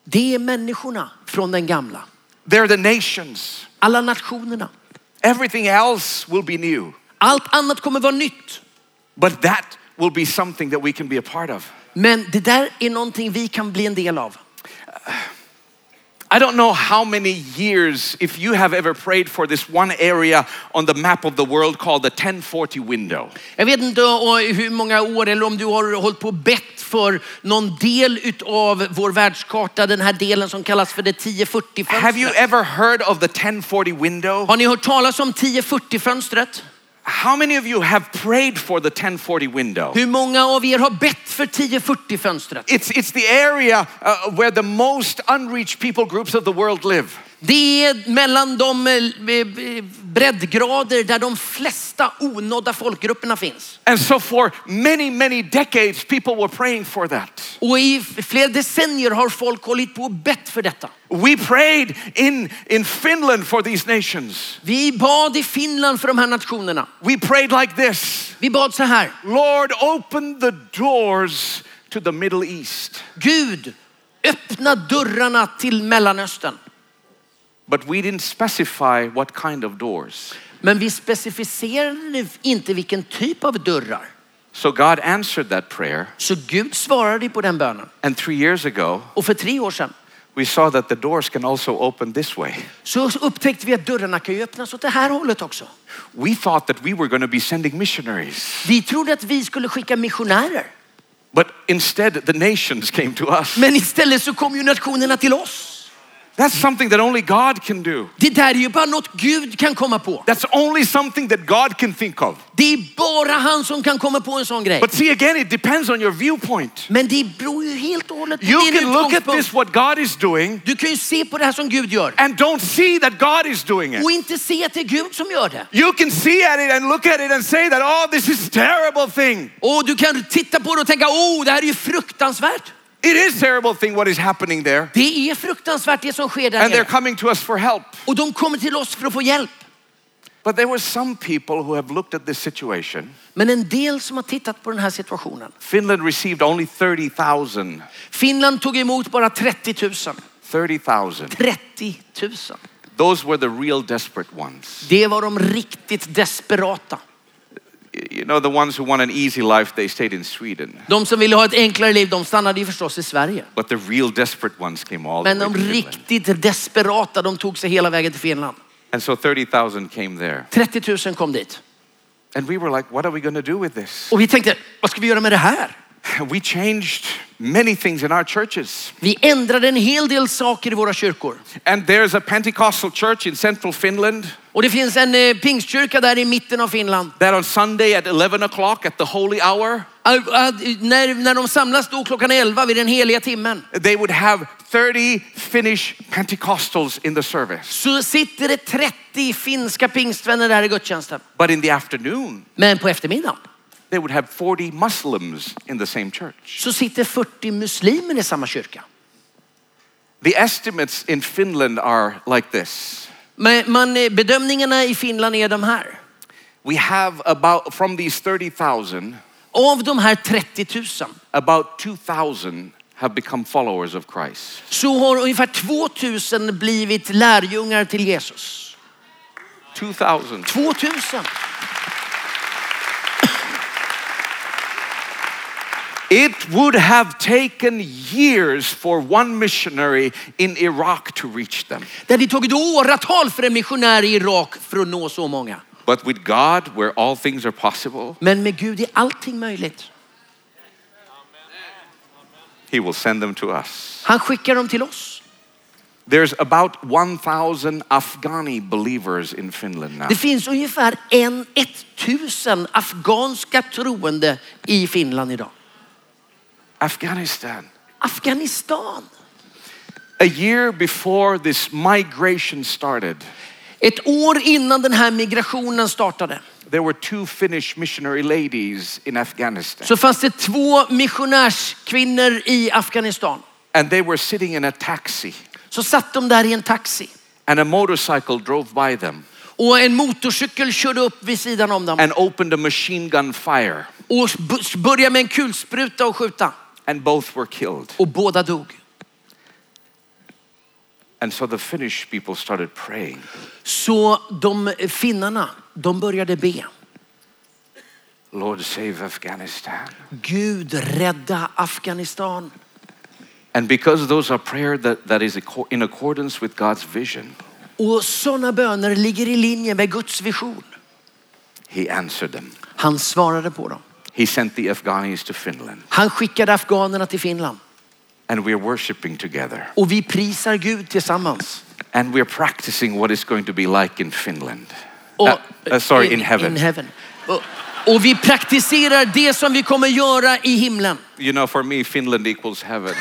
[SPEAKER 2] det är människorna från den gamla.
[SPEAKER 1] They're the nations.
[SPEAKER 2] Alla nationerna.
[SPEAKER 1] Everything else will be new,
[SPEAKER 2] Allt annat kommer vara nytt.
[SPEAKER 1] but that will be something that we can be a part of.
[SPEAKER 2] Men det där är någonting vi kan bli en del av.
[SPEAKER 1] I don't know how many years, if you have ever prayed for this one area on the map of the world called the 1040 window.
[SPEAKER 2] Jag vet inte eh, hur många år eller om du har hållit på och bett för någon del utav vår världskarta, den här delen som kallas för det 1040
[SPEAKER 1] Have you
[SPEAKER 2] fönstret.
[SPEAKER 1] ever heard of the 1040 window?
[SPEAKER 2] Har ni hört talas om 1040 fönstret?
[SPEAKER 1] How many of you have prayed for the 1040 window?
[SPEAKER 2] Hur många av er har bett för 1040-fönstret?
[SPEAKER 1] It's, it's the area uh, where the most unreached people groups of the world live.
[SPEAKER 2] Det är mellan de eh, eh, breddgrader där de flesta onådda folkgrupperna finns.
[SPEAKER 1] And so, for many, many decades, people were praying for that.
[SPEAKER 2] Och i f- flera decennier har folk hållit på och bett för detta.
[SPEAKER 1] We prayed in, in Finland for these nations.
[SPEAKER 2] Vi bad i Finland för de här nationerna.
[SPEAKER 1] We prayed like this
[SPEAKER 2] Vi bad så här.
[SPEAKER 1] Lord, open the doors to the Middle East.
[SPEAKER 2] Gud, öppna dörrarna till Mellanöstern.
[SPEAKER 1] But we didn't specify what kind of doors.
[SPEAKER 2] Men vi specificerade inte vilken typ av dörrar.
[SPEAKER 1] So, God answered that prayer.
[SPEAKER 2] Så Gud svarade på den bönen.
[SPEAKER 1] And three years ago,
[SPEAKER 2] Och för tre år sedan
[SPEAKER 1] we saw that the doors can also open this way.
[SPEAKER 2] så upptäckte vi att dörrarna kan ju öppnas åt det här hållet också.
[SPEAKER 1] We thought that we were going to be sending missionaries,
[SPEAKER 2] Vi trodde att vi skulle skicka missionärer.
[SPEAKER 1] but instead, the nations came to us.
[SPEAKER 2] Men istället så kom ju nationerna till oss.
[SPEAKER 1] That's something that only God can do.
[SPEAKER 2] Det där är ju bara något Gud kan komma på.
[SPEAKER 1] That's only something that God can think of.
[SPEAKER 2] Det är bara han som kan komma på en sån grej.
[SPEAKER 1] But see, again, it depends on your viewpoint.
[SPEAKER 2] Men det beror ju helt och hållet på
[SPEAKER 1] You
[SPEAKER 2] din
[SPEAKER 1] can look at
[SPEAKER 2] utgångspunkt.
[SPEAKER 1] this, what God is doing,
[SPEAKER 2] Du kan ju se på det här som Gud gör
[SPEAKER 1] and don't see that God is doing it.
[SPEAKER 2] och inte se att det är Gud som gör det.
[SPEAKER 1] You can see at it and look at it and say that, oh, this is terrible thing.
[SPEAKER 2] Och du kan titta på det och tänka, oh, det här är ju fruktansvärt.
[SPEAKER 1] It is terrible thing what is happening there.
[SPEAKER 2] Det är fruktansvärt det som sker där
[SPEAKER 1] And they're
[SPEAKER 2] nere.
[SPEAKER 1] coming to us for help.
[SPEAKER 2] Och de kommer till oss för att få hjälp.
[SPEAKER 1] But there were some people who have looked at this situation.
[SPEAKER 2] Men en del som har tittat på den här situationen.
[SPEAKER 1] Finland received only 30,000.
[SPEAKER 2] Finland tog emot bara 30 000.
[SPEAKER 1] 30,000.
[SPEAKER 2] 30 000.
[SPEAKER 1] Those were the real desperate ones.
[SPEAKER 2] Det var de riktigt desperata.
[SPEAKER 1] You know, the ones who want an easy life, they stayed in Sweden.
[SPEAKER 2] De som ville ha ett enklare liv, de stannade ju förstås i Sverige.
[SPEAKER 1] But the real desperate ones came all
[SPEAKER 2] Men
[SPEAKER 1] the
[SPEAKER 2] de
[SPEAKER 1] way to Finland.
[SPEAKER 2] riktigt desperata, de tog sig hela vägen till Finland.
[SPEAKER 1] And so 30,000 came there.
[SPEAKER 2] 30 000 kom dit.
[SPEAKER 1] And we were like, what are we going to do with this?
[SPEAKER 2] Och vi tänkte, vad ska vi göra med det här?
[SPEAKER 1] We changed many things in our churches.
[SPEAKER 2] Vi ändrade en hel del saker i våra kyrkor.
[SPEAKER 1] And there's a Pentecostal church in central Finland
[SPEAKER 2] Och det finns en eh, pingstkyrka där i mitten av Finland.
[SPEAKER 1] that on Sunday at 11 o'clock at the holy hour,
[SPEAKER 2] Att, att, när, när de samlas då klockan 11 vid den heliga timmen
[SPEAKER 1] they would have 30 Finnish Pentecostals in the service.
[SPEAKER 2] så sitter det 30 finska pingstvänner där i gudstjänsten.
[SPEAKER 1] But in the afternoon,
[SPEAKER 2] Men på eftermiddagen
[SPEAKER 1] they would have 40 Muslims in the same church.
[SPEAKER 2] så sitter 40 muslimer i samma kyrka.
[SPEAKER 1] The estimates in Finland are like this.
[SPEAKER 2] Men man, eh, bedömningarna i Finland är de här.
[SPEAKER 1] We have about, from these 30,000,
[SPEAKER 2] Av de här 30 000
[SPEAKER 1] about 2,000 have become followers of Christ.
[SPEAKER 2] så har ungefär 2 000 blivit lärjungar till Jesus.
[SPEAKER 1] 2,000.
[SPEAKER 2] 2 000!
[SPEAKER 1] It would have taken years for one missionary in Iraq to reach them.
[SPEAKER 2] Det hade tagit åratal för en missionär i Irak för att nå så många.
[SPEAKER 1] But with God, where all things are possible,
[SPEAKER 2] Men med Gud är allting möjligt.
[SPEAKER 1] He will send them to us.
[SPEAKER 2] Han skickar dem till oss.
[SPEAKER 1] There's about 1,000 Afghani believers in Finland now.
[SPEAKER 2] Det finns ungefär en, 1000 afghanska troende i Finland idag.
[SPEAKER 1] Afghanistan.
[SPEAKER 2] Afghanistan.
[SPEAKER 1] A year before this migration started,
[SPEAKER 2] Ett år innan den här migrationen startade
[SPEAKER 1] there were two Finnish missionary ladies in Afghanistan.
[SPEAKER 2] så fanns det två missionärskvinnor i Afghanistan.
[SPEAKER 1] and they were sitting in a taxi,
[SPEAKER 2] Så satt de där i en taxi
[SPEAKER 1] and a motorcycle drove by them
[SPEAKER 2] och en motorcykel körde upp vid sidan om dem
[SPEAKER 1] and opened a machine gun fire,
[SPEAKER 2] och b- började med en kulspruta och skjuta.
[SPEAKER 1] and both were killed.
[SPEAKER 2] Och båda dog.
[SPEAKER 1] And so the Finnish people started praying.
[SPEAKER 2] Så de finnarna, de började be.
[SPEAKER 1] Lord, save Afghanistan.
[SPEAKER 2] Gud rädda Afghanistan.
[SPEAKER 1] And because those are prayer that, that is acco- in accordance with God's vision,
[SPEAKER 2] Och sådana böner ligger i linje med Guds vision.
[SPEAKER 1] He answered them.
[SPEAKER 2] Han svarade på dem.
[SPEAKER 1] He sent the Afghanis to Finland,
[SPEAKER 2] Han skickade afghanerna till Finland
[SPEAKER 1] and we're worshiping together,
[SPEAKER 2] och vi prisar Gud tillsammans.
[SPEAKER 1] and we're practicing what it's going to be like in Finland.
[SPEAKER 2] Och,
[SPEAKER 1] Uh, uh, sorry, in heaven.
[SPEAKER 2] In heaven. Och, och vi praktiserar det som vi kommer göra i himlen.
[SPEAKER 1] You know, for me, Finland equals heaven.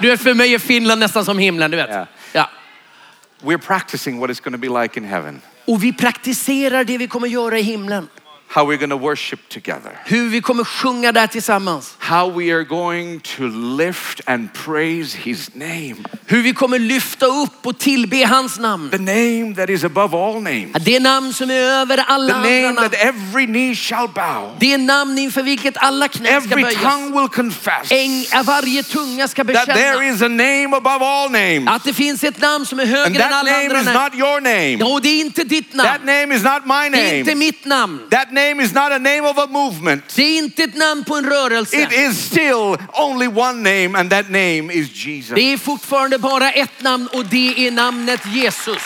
[SPEAKER 2] Du vet, för mig är Finland nästan som himlen, du vet.
[SPEAKER 1] Ja.
[SPEAKER 2] Ja.
[SPEAKER 1] We're practicing what it's going to be like in heaven,
[SPEAKER 2] Och vi praktiserar det vi kommer göra i himlen.
[SPEAKER 1] how we're going to worship together,
[SPEAKER 2] Hur vi kommer sjunga där tillsammans.
[SPEAKER 1] how we are going to lift and praise His name,
[SPEAKER 2] Hur vi kommer lyfta upp och tillbe hans namn.
[SPEAKER 1] the name that is above all names,
[SPEAKER 2] Det namn som är över alla
[SPEAKER 1] the
[SPEAKER 2] andra
[SPEAKER 1] name that
[SPEAKER 2] namn.
[SPEAKER 1] every knee shall bow,
[SPEAKER 2] Det namn inför vilket alla knän ska
[SPEAKER 1] every
[SPEAKER 2] böjas.
[SPEAKER 1] tongue will confess
[SPEAKER 2] Äng,
[SPEAKER 1] that
[SPEAKER 2] varje tunga ska
[SPEAKER 1] there
[SPEAKER 2] bekänna
[SPEAKER 1] is a name above all names,
[SPEAKER 2] att det finns ett namn som är
[SPEAKER 1] and
[SPEAKER 2] högre än
[SPEAKER 1] that
[SPEAKER 2] alla
[SPEAKER 1] name
[SPEAKER 2] andra
[SPEAKER 1] is
[SPEAKER 2] namn.
[SPEAKER 1] not your name,
[SPEAKER 2] Och det är inte ditt
[SPEAKER 1] that
[SPEAKER 2] namn.
[SPEAKER 1] name is not my
[SPEAKER 2] Det är inte
[SPEAKER 1] name,
[SPEAKER 2] mitt namn.
[SPEAKER 1] that name is not a name of a movement.
[SPEAKER 2] Det är inte ett namn på en
[SPEAKER 1] It
[SPEAKER 2] rörelse.
[SPEAKER 1] is still only one name, and that name is Jesus.
[SPEAKER 2] Det är fortfarande bara ett namn och det är namnet Jesus.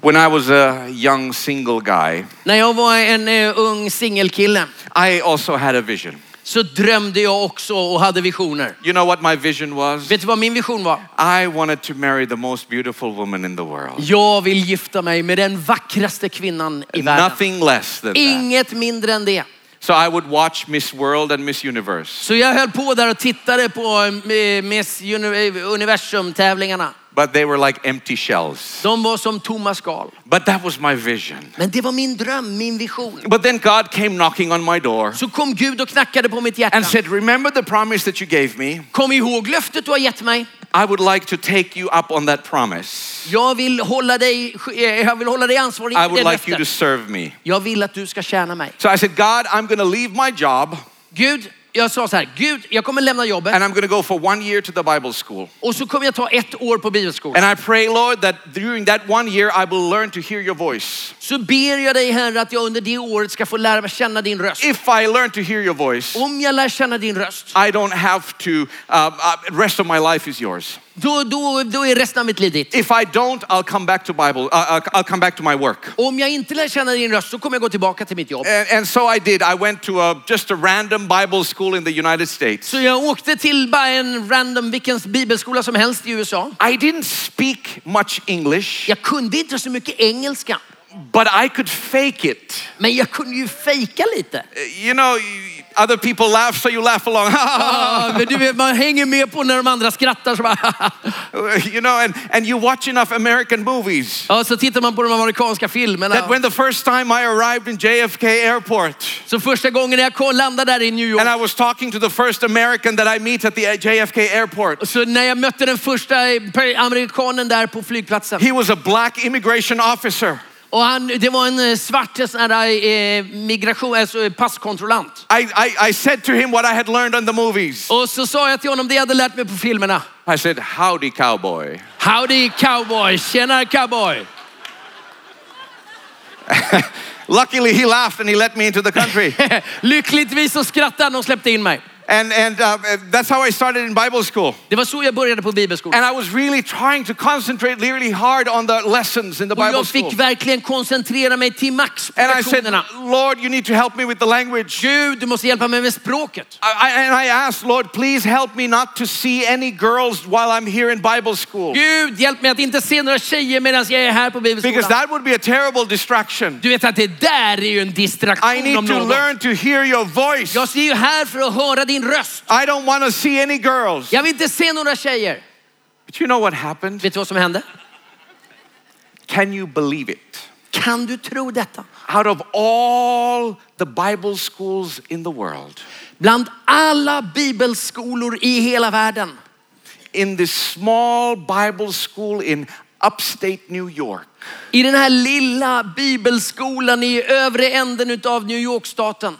[SPEAKER 1] When I was a young single guy,
[SPEAKER 2] När jag var en eh, ung singelkille
[SPEAKER 1] I also had a vision.
[SPEAKER 2] så drömde jag också och hade visioner.
[SPEAKER 1] You know what my vision was?
[SPEAKER 2] Vet du vad min vision var?
[SPEAKER 1] I wanted to marry the most beautiful woman in the world.
[SPEAKER 2] Jag vill gifta mig med den vackraste kvinnan i världen.
[SPEAKER 1] Nothing less than that.
[SPEAKER 2] Inget mindre än det.
[SPEAKER 1] So I would watch Miss World and Miss Universe.
[SPEAKER 2] Så jag höll på där och tittade på eh, Miss Uni- eh, Universum-tävlingarna.
[SPEAKER 1] But they were like empty shells.
[SPEAKER 2] De var som tomma skal.
[SPEAKER 1] But that was my vision.
[SPEAKER 2] Men det var min dröm, min vision.
[SPEAKER 1] But then God came knocking on my door
[SPEAKER 2] Så kom Gud och knackade på mitt hjärta.
[SPEAKER 1] and said, Remember the promise that you gave me?
[SPEAKER 2] Kom ihåg löftet du har gett mig.
[SPEAKER 1] I would like to take you up on that promise.
[SPEAKER 2] Jag vill hålla dig, eh, jag vill hålla dig ansvarig
[SPEAKER 1] I
[SPEAKER 2] för det
[SPEAKER 1] would like you to
[SPEAKER 2] löftet.
[SPEAKER 1] serve me.
[SPEAKER 2] Jag vill att du ska tjäna mig.
[SPEAKER 1] So I said, God, I'm going to leave my job
[SPEAKER 2] Gud, jag sa så här, Gud, jag kommer lämna jobbet
[SPEAKER 1] and I'm going to go for one year to the Bible school.
[SPEAKER 2] och så kommer jag ta ett år på bibelskolan.
[SPEAKER 1] And I pray, Lord, that during that one year I will learn to hear your voice.
[SPEAKER 2] Så ber jag dig Herre att jag under det året ska få lära mig känna din röst.
[SPEAKER 1] If I learn to hear your voice,
[SPEAKER 2] Om jag lär känna din röst,
[SPEAKER 1] I don't have to, uh, uh, rest of my life is yours.
[SPEAKER 2] då, då, då är resten av mitt liv ditt.
[SPEAKER 1] If I don't, I'll come back to Bible, uh, I'll- I'll come back to my work.
[SPEAKER 2] Om jag inte lär känna din röst så kommer jag gå tillbaka till mitt jobb.
[SPEAKER 1] And, and so I did. I went to a, just a random Bible school in the United States.
[SPEAKER 2] Så jag åkte till bara en random, vilken bibelskola som helst i USA.
[SPEAKER 1] I didn't speak much English,
[SPEAKER 2] Jag kunde inte så mycket engelska,
[SPEAKER 1] but I could fake it.
[SPEAKER 2] men jag kunde ju fejka lite.
[SPEAKER 1] You know, you- other people laugh, so you laugh along.
[SPEAKER 2] Ah, men du vet, man hänger med på när de andra skrattar så bara...
[SPEAKER 1] you know, and, and you watch enough American movies
[SPEAKER 2] Ja, så tittar man på de amerikanska
[SPEAKER 1] that
[SPEAKER 2] filmerna.
[SPEAKER 1] when the first time I arrived in JFK Airport
[SPEAKER 2] Så första gången jag kom- landade där i New
[SPEAKER 1] and I
[SPEAKER 2] York,
[SPEAKER 1] was talking to the first American that I meet at the JFK Airport,
[SPEAKER 2] så när jag mötte den första eh, per- amerikanen där på flygplatsen.
[SPEAKER 1] he was a black immigration officer.
[SPEAKER 2] Och han, det var en eh, svart eh, sån här, eh, migration, alltså eh, passkontrollant.
[SPEAKER 1] I, I, I said to him what I had learned on the movies.
[SPEAKER 2] Och så sa jag till honom det jag hade lärt mig på filmerna.
[SPEAKER 1] I said, Howdy, cowboy.
[SPEAKER 2] Howdy cowboy, tjena cowboy.
[SPEAKER 1] Luckily, he laughed and he let me into the country.
[SPEAKER 2] Lyckligtvis så skrattade han och släppte in mig.
[SPEAKER 1] and and uh, that's how I started in Bible school.
[SPEAKER 2] Det var så jag började på bibelskolan.
[SPEAKER 1] And I was really trying to concentrate really hard on the lessons in the
[SPEAKER 2] Och
[SPEAKER 1] Bible
[SPEAKER 2] jag
[SPEAKER 1] school.
[SPEAKER 2] fick verkligen koncentrera mig till max på
[SPEAKER 1] And I said,
[SPEAKER 2] lektionerna.
[SPEAKER 1] Lord, you need to help me with the language.
[SPEAKER 2] Gud, du måste hjälpa mig med språket.
[SPEAKER 1] I, I- and I asked, Lord, please help me not to see any girls while I'm here in Bible school.
[SPEAKER 2] Gud, hjälp mig att inte se några tjejer medan jag är här på
[SPEAKER 1] Because
[SPEAKER 2] bibelskolan.
[SPEAKER 1] that would be a terrible distraction.
[SPEAKER 2] Du vet att det där är ju en
[SPEAKER 1] I
[SPEAKER 2] distraktion om
[SPEAKER 1] need to
[SPEAKER 2] någon.
[SPEAKER 1] learn to hear your voice.
[SPEAKER 2] Jag är ju här för att höra din röst.
[SPEAKER 1] I don't want to see any girls.
[SPEAKER 2] Jag vill inte se några tjejer.
[SPEAKER 1] But you know what happened?
[SPEAKER 2] Vet du vad som hände?
[SPEAKER 1] Can you believe it?
[SPEAKER 2] Kan du tro detta?
[SPEAKER 1] Out of all the Bible schools in the world,
[SPEAKER 2] Bland alla bibelskolor i hela världen
[SPEAKER 1] in this small Bible school in upstate New York,
[SPEAKER 2] I den här lilla bibelskolan i övre änden av New York-staten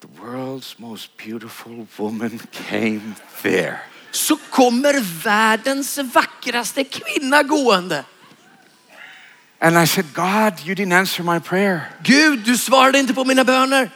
[SPEAKER 1] the world's most beautiful woman came there.
[SPEAKER 2] så kommer världens vackraste kvinna gående.
[SPEAKER 1] And I said, God, you didn't answer my prayer.
[SPEAKER 2] Gud, du svarade inte på mina böner.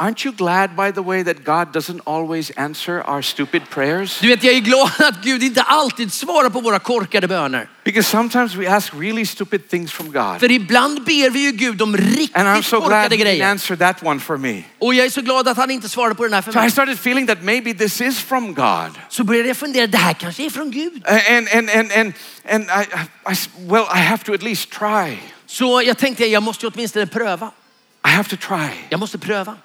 [SPEAKER 1] Aren't you glad, by the way, that God doesn't always answer our stupid prayers?
[SPEAKER 2] Du vet, jag är glad att Gud inte alltid svarar på våra korkade böner.
[SPEAKER 1] Because sometimes we ask really stupid things from God.
[SPEAKER 2] För ibland ber vi ju Gud om
[SPEAKER 1] And I'm
[SPEAKER 2] riktigt
[SPEAKER 1] so glad
[SPEAKER 2] korkade
[SPEAKER 1] He didn't
[SPEAKER 2] grejer.
[SPEAKER 1] answer that one for me.
[SPEAKER 2] Och jag är så glad att han inte svarade på den här för
[SPEAKER 1] So I
[SPEAKER 2] mig.
[SPEAKER 1] started feeling that maybe this is from God.
[SPEAKER 2] Så började jag fundera, det här kanske är från Gud.
[SPEAKER 1] And, and, and, and, and I, I- I s- well, I have to at least try.
[SPEAKER 2] Så jag tänkte, jag måste ju åtminstone pröva.
[SPEAKER 1] I have to try.
[SPEAKER 2] Jag måste pröva.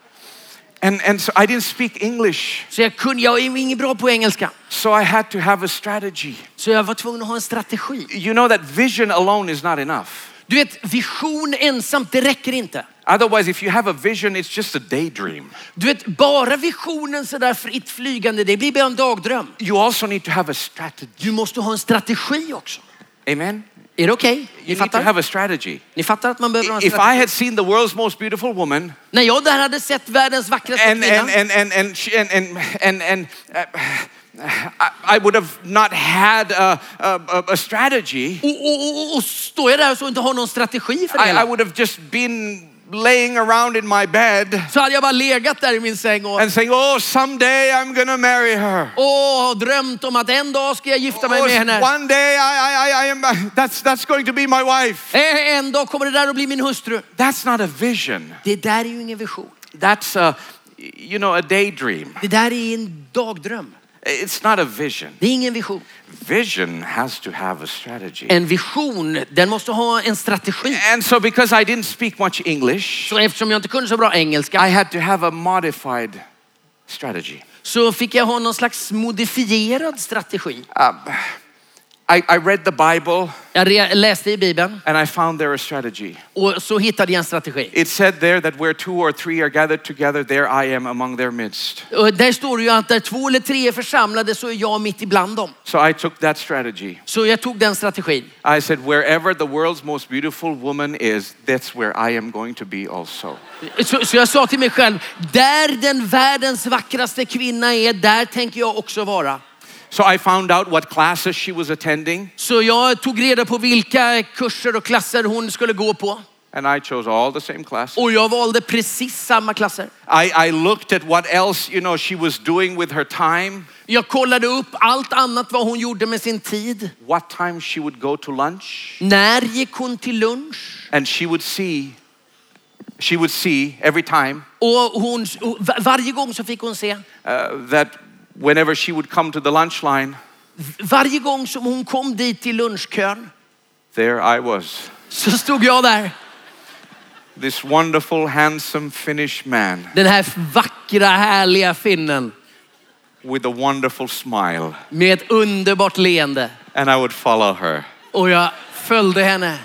[SPEAKER 1] And, and so I didn't speak English,
[SPEAKER 2] Så jag kunde, jag är ju ingen bra på engelska.
[SPEAKER 1] so I had to have a strategy.
[SPEAKER 2] Så jag var tvungen att ha en strategi.
[SPEAKER 1] You know that vision alone is not enough.
[SPEAKER 2] Du vet, vision ensamt, det räcker inte.
[SPEAKER 1] Otherwise, if you have a vision, it's just a daydream.
[SPEAKER 2] Du vet, bara visionen sådär fritt flygande, det blir bara en dagdröm.
[SPEAKER 1] You also need to have a strategy.
[SPEAKER 2] Du måste ha en strategi också.
[SPEAKER 1] Amen?
[SPEAKER 2] Är det okej? Ni
[SPEAKER 1] You need to
[SPEAKER 2] fattar?
[SPEAKER 1] have a strategy.
[SPEAKER 2] Ni fattar att man behöver ha en
[SPEAKER 1] If
[SPEAKER 2] strategi?
[SPEAKER 1] I had seen the world's most beautiful woman
[SPEAKER 2] När jag där hade sett världens vackraste
[SPEAKER 1] and,
[SPEAKER 2] kvinna
[SPEAKER 1] and, and, and, and, she, and, and, and, and uh, I, I would have not had a, a, a strategy,
[SPEAKER 2] och, och, och, och står jag där och inte har någon strategi för det
[SPEAKER 1] I, I
[SPEAKER 2] hela.
[SPEAKER 1] would have just been laying around in my bed
[SPEAKER 2] Så hade jag bara legat där i min säng och,
[SPEAKER 1] and saying, Oh, someday I'm gonna marry her.
[SPEAKER 2] och drömt om att en dag ska jag gifta mig
[SPEAKER 1] Oh,
[SPEAKER 2] med henne.
[SPEAKER 1] one day I, I, I, I am, that's, that's going to be my wife.
[SPEAKER 2] Eh, En dag kommer det där att bli min hustru.
[SPEAKER 1] That's not a vision.
[SPEAKER 2] Det där är ju ingen vision.
[SPEAKER 1] That's a, you know, a daydream.
[SPEAKER 2] Det där är en dagdröm.
[SPEAKER 1] It's not a vision.
[SPEAKER 2] Det är ingen vision.
[SPEAKER 1] Vision has to have a strategy.
[SPEAKER 2] En vision, den måste ha en strategi.
[SPEAKER 1] And so, because I didn't speak much English,
[SPEAKER 2] Så eftersom jag inte kunde så bra
[SPEAKER 1] I
[SPEAKER 2] engelska
[SPEAKER 1] had to have a modified strategy.
[SPEAKER 2] så fick jag ha någon slags modifierad strategi.
[SPEAKER 1] I, I read the Bible
[SPEAKER 2] Jag re- läste i Bibeln
[SPEAKER 1] and I found there a strategy.
[SPEAKER 2] och så hittade jag en strategi.
[SPEAKER 1] It said there that where two or three are gathered together, there I am among their midst.
[SPEAKER 2] Och där står det ju att där två eller tre är församlade så är jag mitt ibland dem.
[SPEAKER 1] So I took that strategy.
[SPEAKER 2] Så jag tog den strategin.
[SPEAKER 1] I said, wherever the world's most beautiful woman is, that's where I am going to be also.
[SPEAKER 2] Så, så jag sa till mig själv, där den världens vackraste kvinna är, där tänker jag också vara.
[SPEAKER 1] So I found out what classes she was attending,
[SPEAKER 2] Så jag tog reda på vilka kurser och klasser hon skulle gå på.
[SPEAKER 1] and I chose all the same classes.
[SPEAKER 2] Och jag valde precis samma klasser.
[SPEAKER 1] I, I looked at what else, you know, she was doing with her time,
[SPEAKER 2] Jag kollade upp allt annat vad hon gjorde med sin tid.
[SPEAKER 1] what time she would go to lunch,
[SPEAKER 2] När gick hon till lunch?
[SPEAKER 1] and she would see, she would see every time
[SPEAKER 2] Och hon, och va- varje gång så fick hon se.
[SPEAKER 1] uh, that whenever she would come to the lunch line,
[SPEAKER 2] Varje gång som hon kom dit till lunchkön
[SPEAKER 1] there I was,
[SPEAKER 2] så stod jag där.
[SPEAKER 1] this wonderful, handsome Finnish man
[SPEAKER 2] Den här vackra, härliga finnen
[SPEAKER 1] with a wonderful smile,
[SPEAKER 2] med ett underbart leende.
[SPEAKER 1] and I would follow her.
[SPEAKER 2] Och jag följde henne.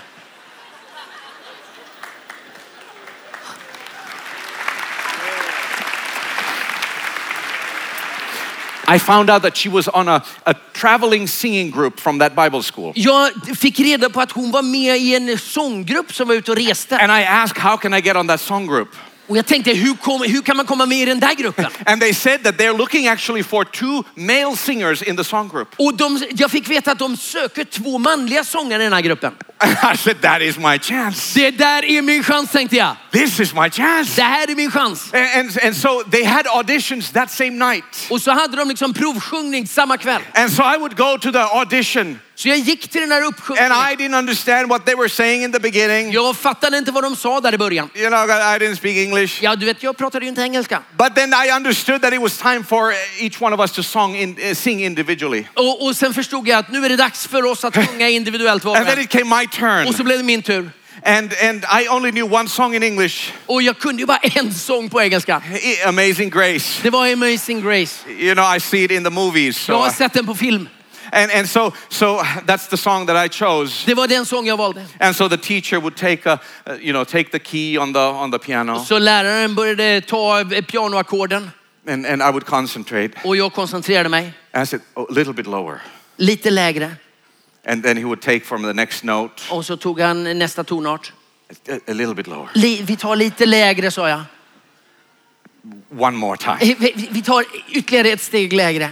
[SPEAKER 1] I found out that she was on a, a traveling singing group from that Bible school.
[SPEAKER 2] Jag fick reda på att hon var med i en sånggrupp som var ute och reste.
[SPEAKER 1] And I asked, How can I get on that song group?
[SPEAKER 2] Och jag tänkte, hur, kom, hur kan man komma med i den där gruppen?
[SPEAKER 1] And they said that they're looking actually for two male singers in the song group.
[SPEAKER 2] Och de, jag fick veta att de söker två manliga sångare i den här gruppen.
[SPEAKER 1] I said, That is my chance.
[SPEAKER 2] Det där är min chans tänkte jag.
[SPEAKER 1] This is my chance.
[SPEAKER 2] Det här är min chans.
[SPEAKER 1] And, and, and so they had auditions that same night.
[SPEAKER 2] Och så hade de liksom provsjungning samma kväll.
[SPEAKER 1] And so I would go to the audition
[SPEAKER 2] Så jag gick till den här
[SPEAKER 1] and
[SPEAKER 2] uppsjungningen.
[SPEAKER 1] I didn't understand what they were saying in the beginning.
[SPEAKER 2] Jag fattade inte vad de sa där i början.
[SPEAKER 1] You know, I didn't speak English.
[SPEAKER 2] Ja, du vet, jag pratade ju inte engelska.
[SPEAKER 1] But then I understood that it was time for each one of us to song in, uh, sing individually.
[SPEAKER 2] Och, och sen förstod jag att nu är det dags för oss att sjunga individuellt var
[SPEAKER 1] And
[SPEAKER 2] och
[SPEAKER 1] then
[SPEAKER 2] en.
[SPEAKER 1] it came my turn.
[SPEAKER 2] Och så blev det min tur.
[SPEAKER 1] And, and I only knew one song in English
[SPEAKER 2] Och jag kunde ju bara en sång på engelska.
[SPEAKER 1] I- Amazing Grace.
[SPEAKER 2] Det var Amazing Grace.
[SPEAKER 1] You know, I see it in the movies. So
[SPEAKER 2] Jag har
[SPEAKER 1] I-
[SPEAKER 2] sett den på film.
[SPEAKER 1] and, and so, so that's the song that I chose.
[SPEAKER 2] Det var den sång jag valde.
[SPEAKER 1] And so the teacher would take, a, uh, you know, take the key on the, on the piano
[SPEAKER 2] Så läraren började ta eh, pianoackorden
[SPEAKER 1] and, and I would concentrate.
[SPEAKER 2] och jag koncentrerade mig.
[SPEAKER 1] And I said, oh, a little bit lower.
[SPEAKER 2] Lite lägre.
[SPEAKER 1] And then he would take from the next note,
[SPEAKER 2] Och så tog han nästa tonart.
[SPEAKER 1] a, a little bit lower.
[SPEAKER 2] Li, vi tar lite lägre sa jag.
[SPEAKER 1] One more time.
[SPEAKER 2] Eh, Vi, vi tar ytterligare ett steg lägre.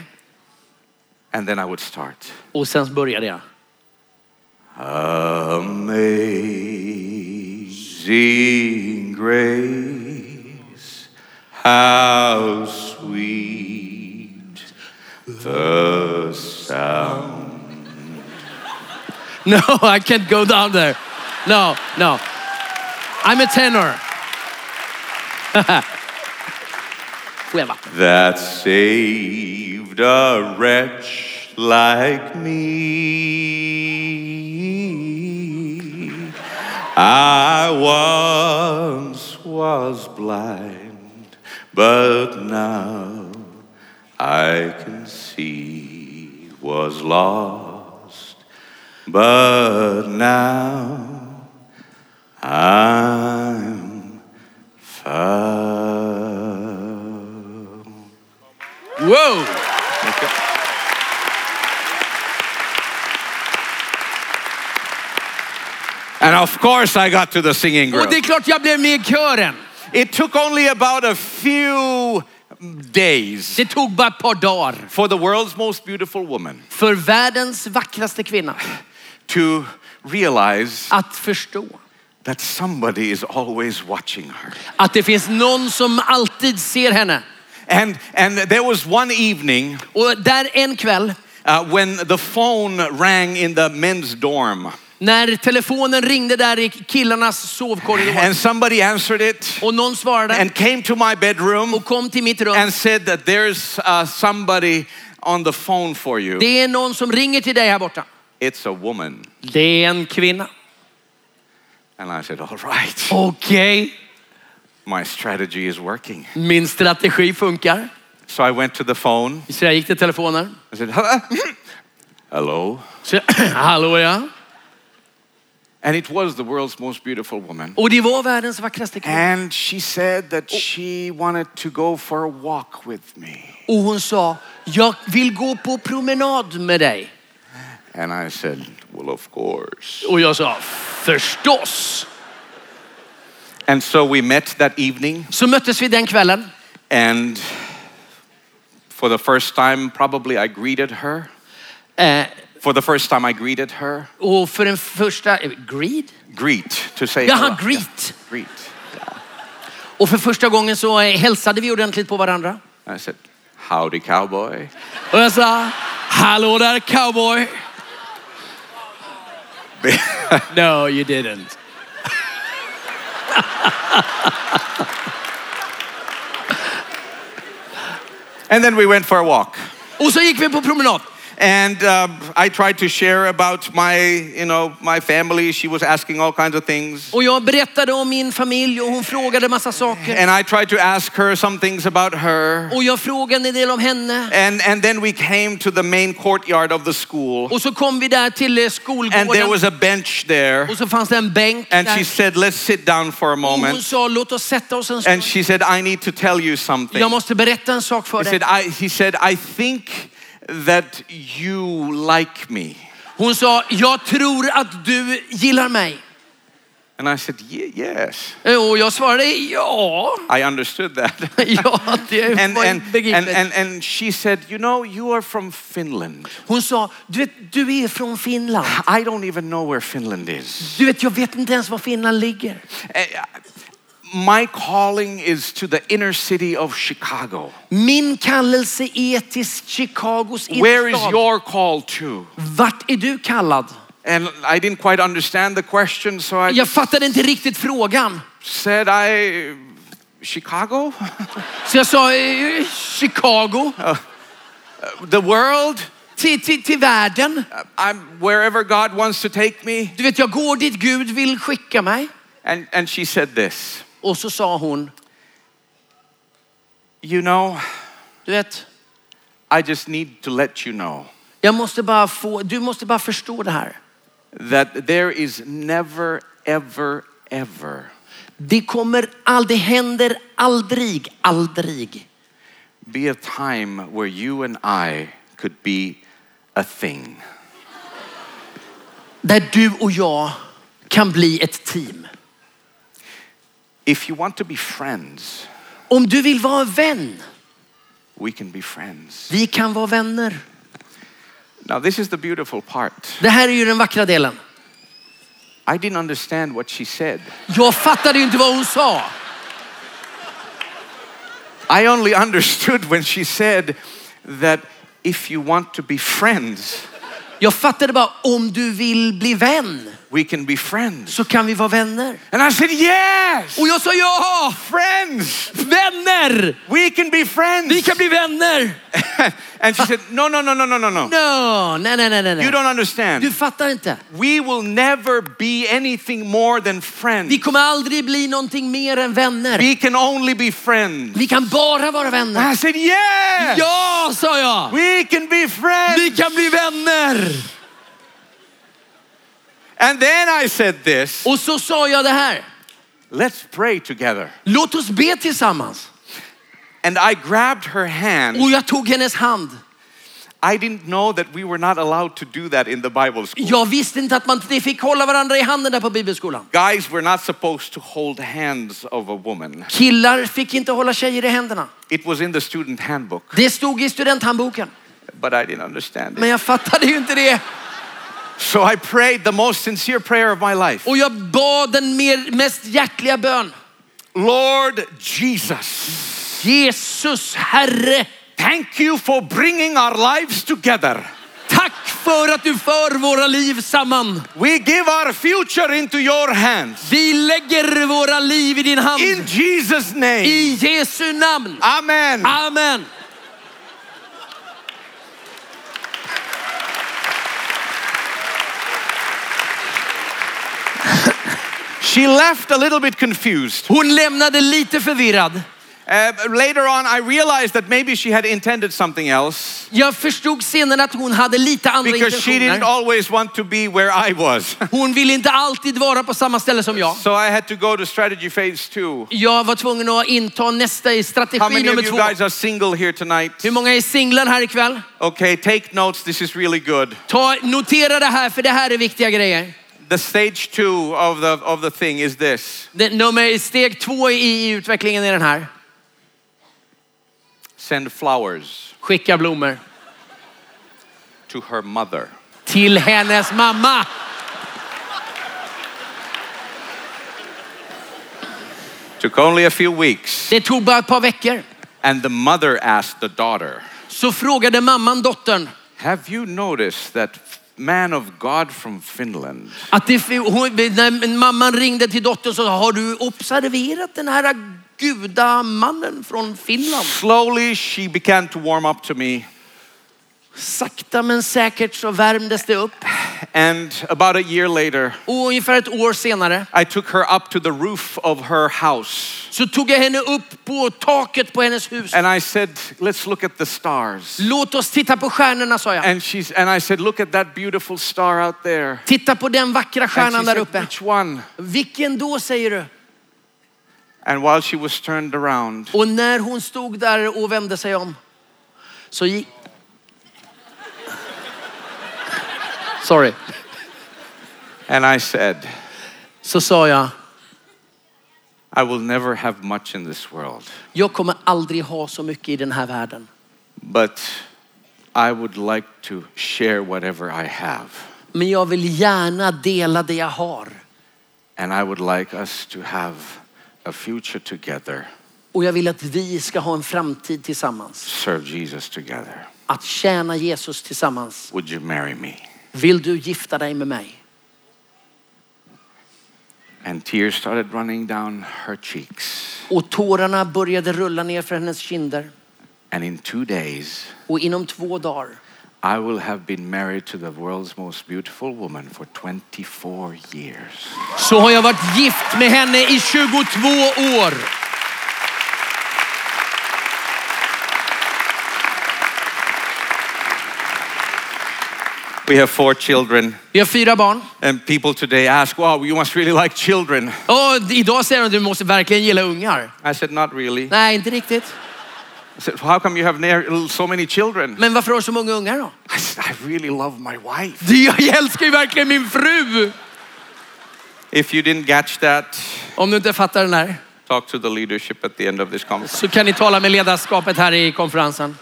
[SPEAKER 1] And then I would start.
[SPEAKER 2] Och sen började jag.
[SPEAKER 1] Amazing grace, How sweet the sound.
[SPEAKER 2] No, I can't go down there. No, no. I'm a tenor. Får jag vatten?
[SPEAKER 1] that saved a wretch like me. I once was blind, but now I can see. Was lost, but now I'm found.
[SPEAKER 2] Wow!
[SPEAKER 1] And of course, I got to the singing
[SPEAKER 2] Och
[SPEAKER 1] group.
[SPEAKER 2] det är klart jag blev med i kören.
[SPEAKER 1] It took only about a few days
[SPEAKER 2] Det tog bara ett par dagar
[SPEAKER 1] for the world's most beautiful woman
[SPEAKER 2] för världens vackraste kvinna
[SPEAKER 1] to realize
[SPEAKER 2] att förstå
[SPEAKER 1] that somebody is always watching her.
[SPEAKER 2] att det finns någon som alltid ser henne.
[SPEAKER 1] And, and there was one evening
[SPEAKER 2] Och där en kväll
[SPEAKER 1] uh, when the phone rang in the men's dorm,
[SPEAKER 2] när telefonen ringde där i killarnas sovkorridor
[SPEAKER 1] and somebody answered it
[SPEAKER 2] och någon svarade
[SPEAKER 1] and came to my bedroom
[SPEAKER 2] och kom till mitt rum.
[SPEAKER 1] and said that there's uh, somebody on the phone for you.
[SPEAKER 2] Det är någon som ringer till dig här borta.
[SPEAKER 1] It's a woman.
[SPEAKER 2] Det är en kvinna.
[SPEAKER 1] And I said, All right,
[SPEAKER 2] Okej.
[SPEAKER 1] my strategy is working.
[SPEAKER 2] Min strategi funkar.
[SPEAKER 1] So I went to the phone.
[SPEAKER 2] Så jag gick till telefonen.
[SPEAKER 1] I said, "Huh? Hello.
[SPEAKER 2] Så jag, Hallå ja.
[SPEAKER 1] And it was the world's most beautiful woman.
[SPEAKER 2] Och det var världens vackraste kvinna.
[SPEAKER 1] And she said that she wanted to go for a walk with me.
[SPEAKER 2] Och hon sa, jag vill gå på promenad med dig.
[SPEAKER 1] And I said, Well, of course.
[SPEAKER 2] Och jag sa, förstås.
[SPEAKER 1] And so we met that evening.
[SPEAKER 2] Så möttes vi den kvällen.
[SPEAKER 1] And for the first time, probably I greeted her.
[SPEAKER 2] Eh,
[SPEAKER 1] For the first time, I greeted her.
[SPEAKER 2] och för den första, eh, greed?
[SPEAKER 1] Greet, to say
[SPEAKER 2] Jaha,
[SPEAKER 1] hello.
[SPEAKER 2] greet.
[SPEAKER 1] Greet.
[SPEAKER 2] Och för första gången så eh, hälsade vi ordentligt på varandra.
[SPEAKER 1] I said, Howdy, cowboy.
[SPEAKER 2] Och jag sa, hallå där cowboy. no you didn't.
[SPEAKER 1] And then we went for a walk.
[SPEAKER 2] Och så gick vi på promenad.
[SPEAKER 1] And uh, I tried to share about my, you know, my family. She was asking all kinds of things.
[SPEAKER 2] Och jag berättade om min familj och hon frågade massa saker.
[SPEAKER 1] And I tried to ask her some things about her.
[SPEAKER 2] Och jag frågade en del om henne.
[SPEAKER 1] And, and then we came to the main courtyard of the school.
[SPEAKER 2] Och så kom vi där till eh,
[SPEAKER 1] And there
[SPEAKER 2] skolgården
[SPEAKER 1] was a bench there.
[SPEAKER 2] och så fanns det en bänk
[SPEAKER 1] And she
[SPEAKER 2] där.
[SPEAKER 1] said, let's sit down for a
[SPEAKER 2] Och hon
[SPEAKER 1] moment.
[SPEAKER 2] sa, låt oss sätta oss en
[SPEAKER 1] And
[SPEAKER 2] stund.
[SPEAKER 1] she said, I need to tell you something.
[SPEAKER 2] Jag måste berätta en sak för
[SPEAKER 1] He said,
[SPEAKER 2] dig.
[SPEAKER 1] I, he said, I think that you like me.
[SPEAKER 2] Hon sa, jag tror att du gillar mig.
[SPEAKER 1] And I said, "Ye- yes.
[SPEAKER 2] Eh, Och jag svarade, ja.
[SPEAKER 1] I understood that.
[SPEAKER 2] Ja, det
[SPEAKER 1] and,
[SPEAKER 2] var ju
[SPEAKER 1] and, and,
[SPEAKER 2] begripligt.
[SPEAKER 1] and, and she said, You know, you are from Finland.
[SPEAKER 2] Hon sa, du vet, du är från Finland.
[SPEAKER 1] I don't even know where Finland is.
[SPEAKER 2] Du vet, jag vet inte ens var Finland ligger.
[SPEAKER 1] Eh, My calling is to the inner city of Chicago.
[SPEAKER 2] Min kallelse är till Chicagos
[SPEAKER 1] Where is
[SPEAKER 2] innerstad.
[SPEAKER 1] your call to?
[SPEAKER 2] Vart är du kallad?
[SPEAKER 1] And I didn't quite understand the question, so I
[SPEAKER 2] Jag fattade inte riktigt frågan.
[SPEAKER 1] said, I. Chicago?
[SPEAKER 2] Så jag sa eh, Chicago
[SPEAKER 1] The world?
[SPEAKER 2] till, till, till världen.
[SPEAKER 1] I'm wherever God wants to take me.
[SPEAKER 2] Du vet, jag går dit Gud vill skicka mig.
[SPEAKER 1] And, and she said this
[SPEAKER 2] Och så sa hon,
[SPEAKER 1] You know,
[SPEAKER 2] du vet,
[SPEAKER 1] I just need to let you know
[SPEAKER 2] jag måste bara få, du måste bara förstå det här.
[SPEAKER 1] that there is never, ever, ever
[SPEAKER 2] Det kommer aldrig, det händer aldrig, aldrig
[SPEAKER 1] be a time where you and I could be a thing.
[SPEAKER 2] där du och jag kan bli ett team.
[SPEAKER 1] If you want to be friends,
[SPEAKER 2] Om du vill vara en vän,
[SPEAKER 1] we can be friends.
[SPEAKER 2] vi kan vara vänner.
[SPEAKER 1] Now, this is the beautiful part.
[SPEAKER 2] Det här är ju den vackra delen.
[SPEAKER 1] I didn't understand what she said,
[SPEAKER 2] Jag fattade ju inte vad hon sa.
[SPEAKER 1] I only understood when she said that if you want to be friends,
[SPEAKER 2] Jag fattade bara, om du vill bli vän
[SPEAKER 1] we can be friends.
[SPEAKER 2] så kan vi vara vänner.
[SPEAKER 1] And I said, yes!
[SPEAKER 2] Och jag sa ja!
[SPEAKER 1] Friends!
[SPEAKER 2] Vänner!
[SPEAKER 1] We can be
[SPEAKER 2] Vi
[SPEAKER 1] friends!
[SPEAKER 2] kan bli vänner!
[SPEAKER 1] and she said, no, no, no, no, no, no, no.
[SPEAKER 2] No, nej, nej, nej, nej.
[SPEAKER 1] You
[SPEAKER 2] nej.
[SPEAKER 1] don't understand.
[SPEAKER 2] Du fattar inte.
[SPEAKER 1] We will never be anything more than friends.
[SPEAKER 2] Vi kommer aldrig bli någonting mer än vänner.
[SPEAKER 1] We can only be friends.
[SPEAKER 2] Vi kan bara vara
[SPEAKER 1] And
[SPEAKER 2] vänner.
[SPEAKER 1] I said, yes!
[SPEAKER 2] Ja, sa jag!
[SPEAKER 1] We can be friends!
[SPEAKER 2] Vi kan bli vänner!
[SPEAKER 1] And then I said this
[SPEAKER 2] Och så sa jag det här.
[SPEAKER 1] let's pray together.
[SPEAKER 2] Låt oss be tillsammans.
[SPEAKER 1] And I grabbed her hand.
[SPEAKER 2] Och jag tog hennes hand.
[SPEAKER 1] I didn't know that we were not allowed to do that in the Bible school.
[SPEAKER 2] Jag visste inte att man inte fick hålla varandra i handen där på bibelskolan.
[SPEAKER 1] Guys were not supposed to hold hands of a woman.
[SPEAKER 2] Killar fick inte hålla tjejer i händerna.
[SPEAKER 1] It was in the student handbook,
[SPEAKER 2] Det stod i studenthandboken.
[SPEAKER 1] but I didn't understand
[SPEAKER 2] Men
[SPEAKER 1] it.
[SPEAKER 2] jag fattade ju inte det.
[SPEAKER 1] So I prayed the most sincere prayer of my life
[SPEAKER 2] Och jag bad den mer, mest hjärtliga bön.
[SPEAKER 1] Lord Jesus,
[SPEAKER 2] Jesus Herre,
[SPEAKER 1] thank you for bringing our lives together.
[SPEAKER 2] tack för att du för våra liv samman.
[SPEAKER 1] We give our future into your hands.
[SPEAKER 2] Vi lägger våra liv i din hand.
[SPEAKER 1] In Jesus' name. Ah.
[SPEAKER 2] I Jesu namn.
[SPEAKER 1] Amen.
[SPEAKER 2] Amen.
[SPEAKER 1] She left a little bit confused.
[SPEAKER 2] Hon lämnade lite förvirrad.
[SPEAKER 1] Uh, later on, I realized that maybe she had intended something else
[SPEAKER 2] Jag förstod senare att hon hade lite andra
[SPEAKER 1] because she didn't
[SPEAKER 2] intentioner.
[SPEAKER 1] always want to be where I was.
[SPEAKER 2] Hon ville inte alltid vara på samma ställe som jag.
[SPEAKER 1] so I had to go to strategy phase two.
[SPEAKER 2] Jag var tvungen att inta nästa i
[SPEAKER 1] How
[SPEAKER 2] strategi
[SPEAKER 1] many of
[SPEAKER 2] nummer
[SPEAKER 1] you guys
[SPEAKER 2] två.
[SPEAKER 1] are single here tonight?
[SPEAKER 2] Hur många är singlar här ikväll?
[SPEAKER 1] Okay, take notes. This is really good.
[SPEAKER 2] Ta, notera det här för det här är viktiga grejer.
[SPEAKER 1] The stage two of the of the thing is this:
[SPEAKER 2] Det, nummer, steg två i utvecklingen är den här.
[SPEAKER 1] send flowers
[SPEAKER 2] Skicka blommor
[SPEAKER 1] to her mother.
[SPEAKER 2] till hennes mamma.
[SPEAKER 1] Took only a few weeks,
[SPEAKER 2] Det tog bara ett par veckor.
[SPEAKER 1] and the mother asked the daughter,
[SPEAKER 2] Så frågade mamman dottern
[SPEAKER 1] "Have you noticed that man of God from Finland?"
[SPEAKER 2] att det, hon, när mamman ringde till dottern så sa har du observerat den här gudamannen från Finland?
[SPEAKER 1] Slowly, she began to warm up to me.
[SPEAKER 2] Sakta men säkert så värmdes det upp.
[SPEAKER 1] And about a year later,
[SPEAKER 2] Och ungefär ett år senare
[SPEAKER 1] I took her up to the roof of her house
[SPEAKER 2] så tog jag henne upp på taket på hennes hus.
[SPEAKER 1] and I said, Let's look at the stars.
[SPEAKER 2] Låt oss titta på stjärnorna sa jag.
[SPEAKER 1] And, she's, and I said, Look at that beautiful star out there.
[SPEAKER 2] Titta på den vackra
[SPEAKER 1] And
[SPEAKER 2] stjärnan
[SPEAKER 1] she
[SPEAKER 2] där
[SPEAKER 1] said,
[SPEAKER 2] uppe.
[SPEAKER 1] Which one?
[SPEAKER 2] Vilken då säger du?
[SPEAKER 1] And while she was turned around,
[SPEAKER 2] Och när hon stod där och vände sig om så gick... Sorry.
[SPEAKER 1] and I said,
[SPEAKER 2] Så sa jag,
[SPEAKER 1] I will never have much in this world,
[SPEAKER 2] jag kommer aldrig ha så mycket i den här världen.
[SPEAKER 1] but I would like to share whatever I have.
[SPEAKER 2] Men jag vill gärna dela det jag har.
[SPEAKER 1] And I would like us to have a future together,
[SPEAKER 2] Och jag vill att vi ska ha en framtid tillsammans.
[SPEAKER 1] serve Jesus together.
[SPEAKER 2] Att tjäna Jesus tillsammans.
[SPEAKER 1] Would you marry me?
[SPEAKER 2] Vill du gifta dig med mig?
[SPEAKER 1] And tears started running down her cheeks.
[SPEAKER 2] Och tårarna började rulla ner för hennes kinder.
[SPEAKER 1] And in two days,
[SPEAKER 2] Och inom två dagar
[SPEAKER 1] I will have been married to the world's most beautiful woman for 24 years.
[SPEAKER 2] så har jag varit gift med henne i 22 år.
[SPEAKER 1] We have four children,
[SPEAKER 2] Vi har fyra barn.
[SPEAKER 1] and people today ask, Wow, you must really like children.
[SPEAKER 2] Och idag säger de att du måste verkligen gilla ungar.
[SPEAKER 1] I said, Not really.
[SPEAKER 2] Nej, inte riktigt.
[SPEAKER 1] I said, How come you have near- so many children?
[SPEAKER 2] Men varför har du så många ungar då?
[SPEAKER 1] I said, I really love my wife.
[SPEAKER 2] Du, Jag älskar ju verkligen min fru!
[SPEAKER 1] If you didn't catch that,
[SPEAKER 2] Om du inte fattar den här
[SPEAKER 1] talk to the leadership at the end of this conference.
[SPEAKER 2] så kan ni tala med ledarskapet här i konferensen.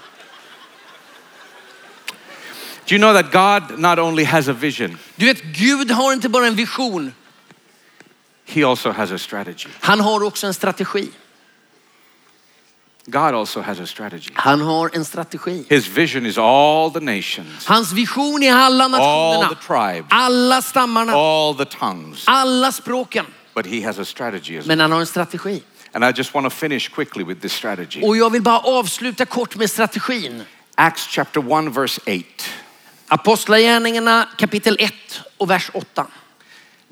[SPEAKER 1] Do you know that God not only has a vision,
[SPEAKER 2] Du vet, Gud har inte bara en vision.
[SPEAKER 1] He also has a strategy.
[SPEAKER 2] Han har också en strategi.
[SPEAKER 1] God also has a strategy.
[SPEAKER 2] Han har en strategi.
[SPEAKER 1] His vision is all the nations,
[SPEAKER 2] Hans vision är alla
[SPEAKER 1] all the
[SPEAKER 2] nationerna,
[SPEAKER 1] tribes,
[SPEAKER 2] alla stammarna,
[SPEAKER 1] all the tongues.
[SPEAKER 2] alla språken.
[SPEAKER 1] But he has a strategy as well.
[SPEAKER 2] Men han har en strategi.
[SPEAKER 1] And I just want to finish quickly with this strategy.
[SPEAKER 2] Och jag vill bara avsluta kort med strategin.
[SPEAKER 1] Acts chapter 1, verse 8.
[SPEAKER 2] Apostlagärningarna kapitel 1 och vers 8.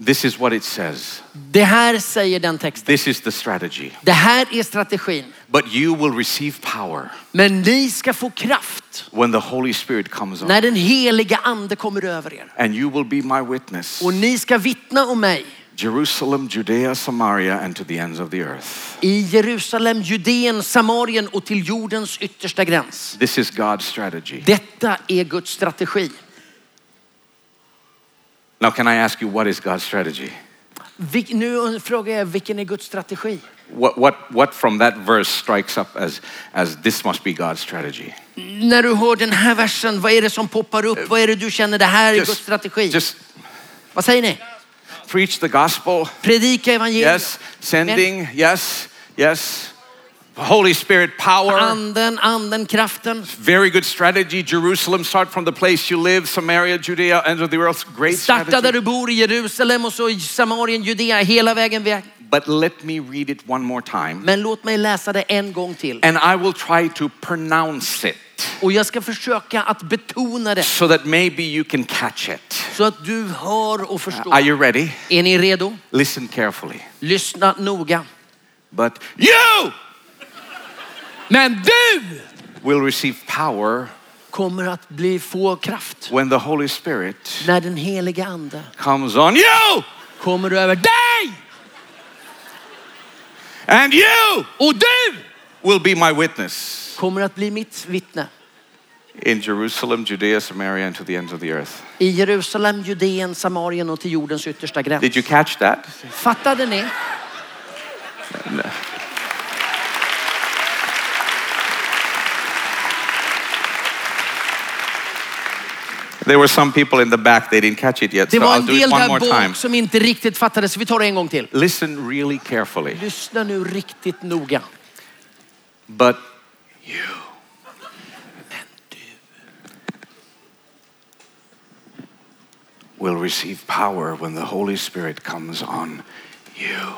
[SPEAKER 1] This is what it says.
[SPEAKER 2] Det här säger den texten.
[SPEAKER 1] This is the strategy.
[SPEAKER 2] Det här är strategin.
[SPEAKER 1] But you will receive power
[SPEAKER 2] Men ni ska få kraft
[SPEAKER 1] when the Holy Spirit comes on,
[SPEAKER 2] när den heliga ande kommer över er.
[SPEAKER 1] and you will be my witness.
[SPEAKER 2] Och ni ska vittna om mig
[SPEAKER 1] Jerusalem, Judea, Samaria, and to the ends of the earth.
[SPEAKER 2] i Jerusalem, Judeen, Samarien och till jordens yttersta gräns.
[SPEAKER 1] This is God's strategy.
[SPEAKER 2] Detta är Guds strategi.
[SPEAKER 1] Now, can I ask you, what is God's strategy?
[SPEAKER 2] Vil- Nu frågar jag, vilken är Guds strategi?
[SPEAKER 1] What, what, what from that verse strikes up as, as this must be God's strategy?
[SPEAKER 2] När du hör den här versen, vad är det som poppar upp? Vad är det du känner, det här är Guds strategi?
[SPEAKER 1] just
[SPEAKER 2] vad säger ni?
[SPEAKER 1] preach the gospel.
[SPEAKER 2] Predika evangelium.
[SPEAKER 1] Yes. Sending. Yes. Yes. Holy Spirit power.
[SPEAKER 2] Anden, anden, kraften.
[SPEAKER 1] Very good strategy. Jerusalem, start from the place you live. Samaria, Judea, ends of the earth. Great
[SPEAKER 2] Starta där
[SPEAKER 1] strategy.
[SPEAKER 2] du bor i Jerusalem och så i Samarien, Judea, hela vägen. via-
[SPEAKER 1] But let me read it one more time.
[SPEAKER 2] Men låt mig läsa det en gång till.
[SPEAKER 1] And I will try to pronounce it
[SPEAKER 2] Och jag ska försöka att betona det
[SPEAKER 1] so that maybe you can catch it.
[SPEAKER 2] så att du hör och förstår.
[SPEAKER 1] Are you ready?
[SPEAKER 2] Är ni redo?
[SPEAKER 1] Listen carefully.
[SPEAKER 2] Lyssna noga.
[SPEAKER 1] But you
[SPEAKER 2] Men du
[SPEAKER 1] will receive power
[SPEAKER 2] kommer att bli, få kraft
[SPEAKER 1] when the Holy Spirit
[SPEAKER 2] när den heliga ande
[SPEAKER 1] comes on you
[SPEAKER 2] kommer över dig
[SPEAKER 1] and you
[SPEAKER 2] och du
[SPEAKER 1] will be my witness
[SPEAKER 2] kommer att bli mitt vittne
[SPEAKER 1] in Jerusalem, Judea, Samaria, and to the ends of the earth.
[SPEAKER 2] i Jerusalem, Judeen, Samarien och till jordens yttersta gräns.
[SPEAKER 1] Did you catch that?
[SPEAKER 2] Fattade ni?
[SPEAKER 1] There were some people in the back, they didn't catch it yet,
[SPEAKER 2] Det
[SPEAKER 1] so
[SPEAKER 2] var
[SPEAKER 1] I'll
[SPEAKER 2] en
[SPEAKER 1] do it
[SPEAKER 2] del
[SPEAKER 1] one more
[SPEAKER 2] där bak
[SPEAKER 1] time.
[SPEAKER 2] som inte riktigt fattade så vi tar det en gång till.
[SPEAKER 1] Listen really carefully.
[SPEAKER 2] Lyssna nu riktigt noga.
[SPEAKER 1] But you will receive power when the Holy Spirit comes on you.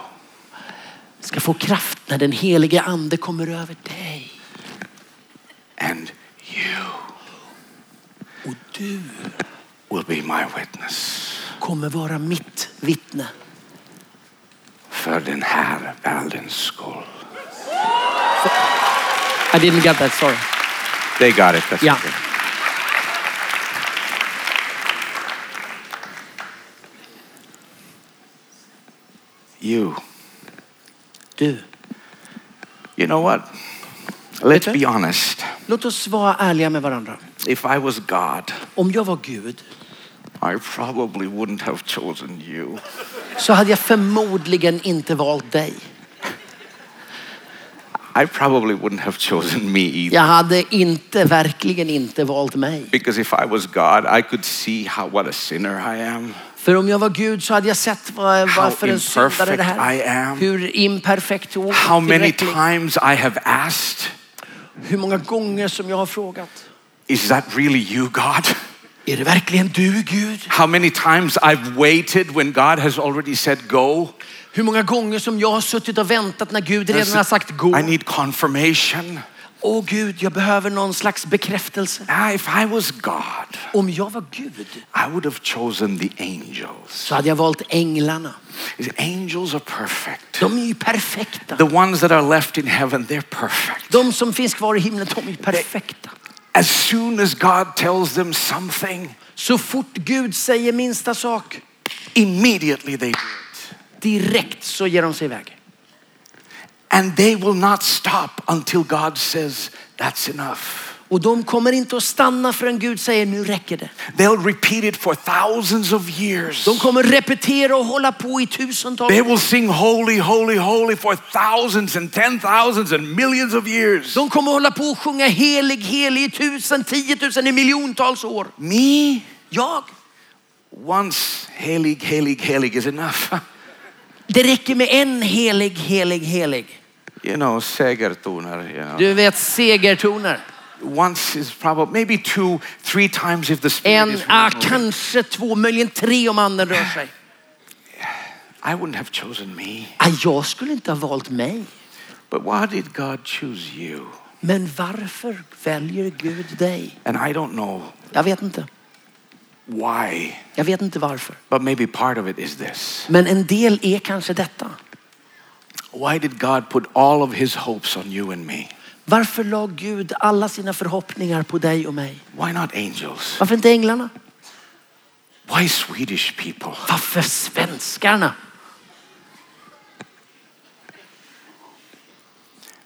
[SPEAKER 2] Ska få kraft när den heliga ande kommer över dig
[SPEAKER 1] And you
[SPEAKER 2] och du
[SPEAKER 1] will be my witness
[SPEAKER 2] kommer vara mitt vittne.
[SPEAKER 1] för den här världens skull.
[SPEAKER 2] I didn't get that, sorry.
[SPEAKER 1] They got it. That's
[SPEAKER 2] Yeah.
[SPEAKER 1] okay. You.
[SPEAKER 2] Du,
[SPEAKER 1] You know what? Let's
[SPEAKER 2] Bitte?
[SPEAKER 1] be honest.
[SPEAKER 2] låt oss vara ärliga med varandra.
[SPEAKER 1] If I was God,
[SPEAKER 2] Om jag var Gud
[SPEAKER 1] I probably wouldn't have chosen you.
[SPEAKER 2] så hade jag förmodligen inte valt dig.
[SPEAKER 1] I probably wouldn't have chosen me either.
[SPEAKER 2] Jag hade inte, verkligen inte valt mig.
[SPEAKER 1] Because if I was God, I could see how what a sinner I am.
[SPEAKER 2] För om jag var Gud så hade jag sett vad,
[SPEAKER 1] How
[SPEAKER 2] varför en syndare det
[SPEAKER 1] imperfect I
[SPEAKER 2] här.
[SPEAKER 1] am.
[SPEAKER 2] Hur imperfekt och
[SPEAKER 1] How many
[SPEAKER 2] otillräcklig.
[SPEAKER 1] times I have asked,
[SPEAKER 2] Hur många gånger som jag har frågat.
[SPEAKER 1] is that really you, God?
[SPEAKER 2] Är det verkligen du Gud?
[SPEAKER 1] How many times I've waited when God has already said go?
[SPEAKER 2] Hur många gånger som jag har suttit och väntat när Gud redan har sagt gå.
[SPEAKER 1] I need confirmation.
[SPEAKER 2] Åh Gud, jag behöver någon slags bekräftelse.
[SPEAKER 1] Ah, if I was God,
[SPEAKER 2] Om jag var Gud
[SPEAKER 1] I would have chosen the angels.
[SPEAKER 2] så hade jag valt änglarna.
[SPEAKER 1] Because Angels are perfect.
[SPEAKER 2] De är ju perfekta.
[SPEAKER 1] The ones that are left in heaven, they're perfect.
[SPEAKER 2] De som finns kvar i himlen, de är ju perfekta.
[SPEAKER 1] As soon as God tells them something,
[SPEAKER 2] Så fort Gud säger minsta sak,
[SPEAKER 1] immediately they do it.
[SPEAKER 2] direkt så ger de sig iväg.
[SPEAKER 1] And they will not stop until God says, that's enough.
[SPEAKER 2] Och de kommer inte att stanna förrän Gud säger nu räcker det.
[SPEAKER 1] They'll repeat it for thousands of years.
[SPEAKER 2] De kommer repetera och hålla på i tusentals
[SPEAKER 1] They will sing holy, holy, holy for thousands and ten thousands and millions of years.
[SPEAKER 2] De kommer hålla på och sjunga helig, helig i tusen, tiotusen, i miljontals år.
[SPEAKER 1] Me,
[SPEAKER 2] Jag,
[SPEAKER 1] once helig, helig, helig is enough.
[SPEAKER 2] det räcker med en helig, helig, helig.
[SPEAKER 1] you know, segertoner, you know.
[SPEAKER 2] Du vet segertoner.
[SPEAKER 1] Once is probably, maybe two, three times if the spirit
[SPEAKER 2] En,
[SPEAKER 1] is
[SPEAKER 2] ah,
[SPEAKER 1] moving.
[SPEAKER 2] kanske två, möjligen tre om anden rör sig.
[SPEAKER 1] I wouldn't have chosen me.
[SPEAKER 2] Ah, jag skulle inte ha valt mig.
[SPEAKER 1] But why did God choose you?
[SPEAKER 2] Men varför väljer Gud dig?
[SPEAKER 1] And I don't know
[SPEAKER 2] Jag vet inte.
[SPEAKER 1] why,
[SPEAKER 2] Jag vet inte varför.
[SPEAKER 1] but maybe part of it is this.
[SPEAKER 2] Men en del är kanske detta.
[SPEAKER 1] Why did God put all of his hopes on you and me?
[SPEAKER 2] Varför la Gud alla sina förhoppningar på dig och mig?
[SPEAKER 1] Why not angels?
[SPEAKER 2] Varför inte änglarna?
[SPEAKER 1] Why Swedish people?
[SPEAKER 2] Varför svenskarna?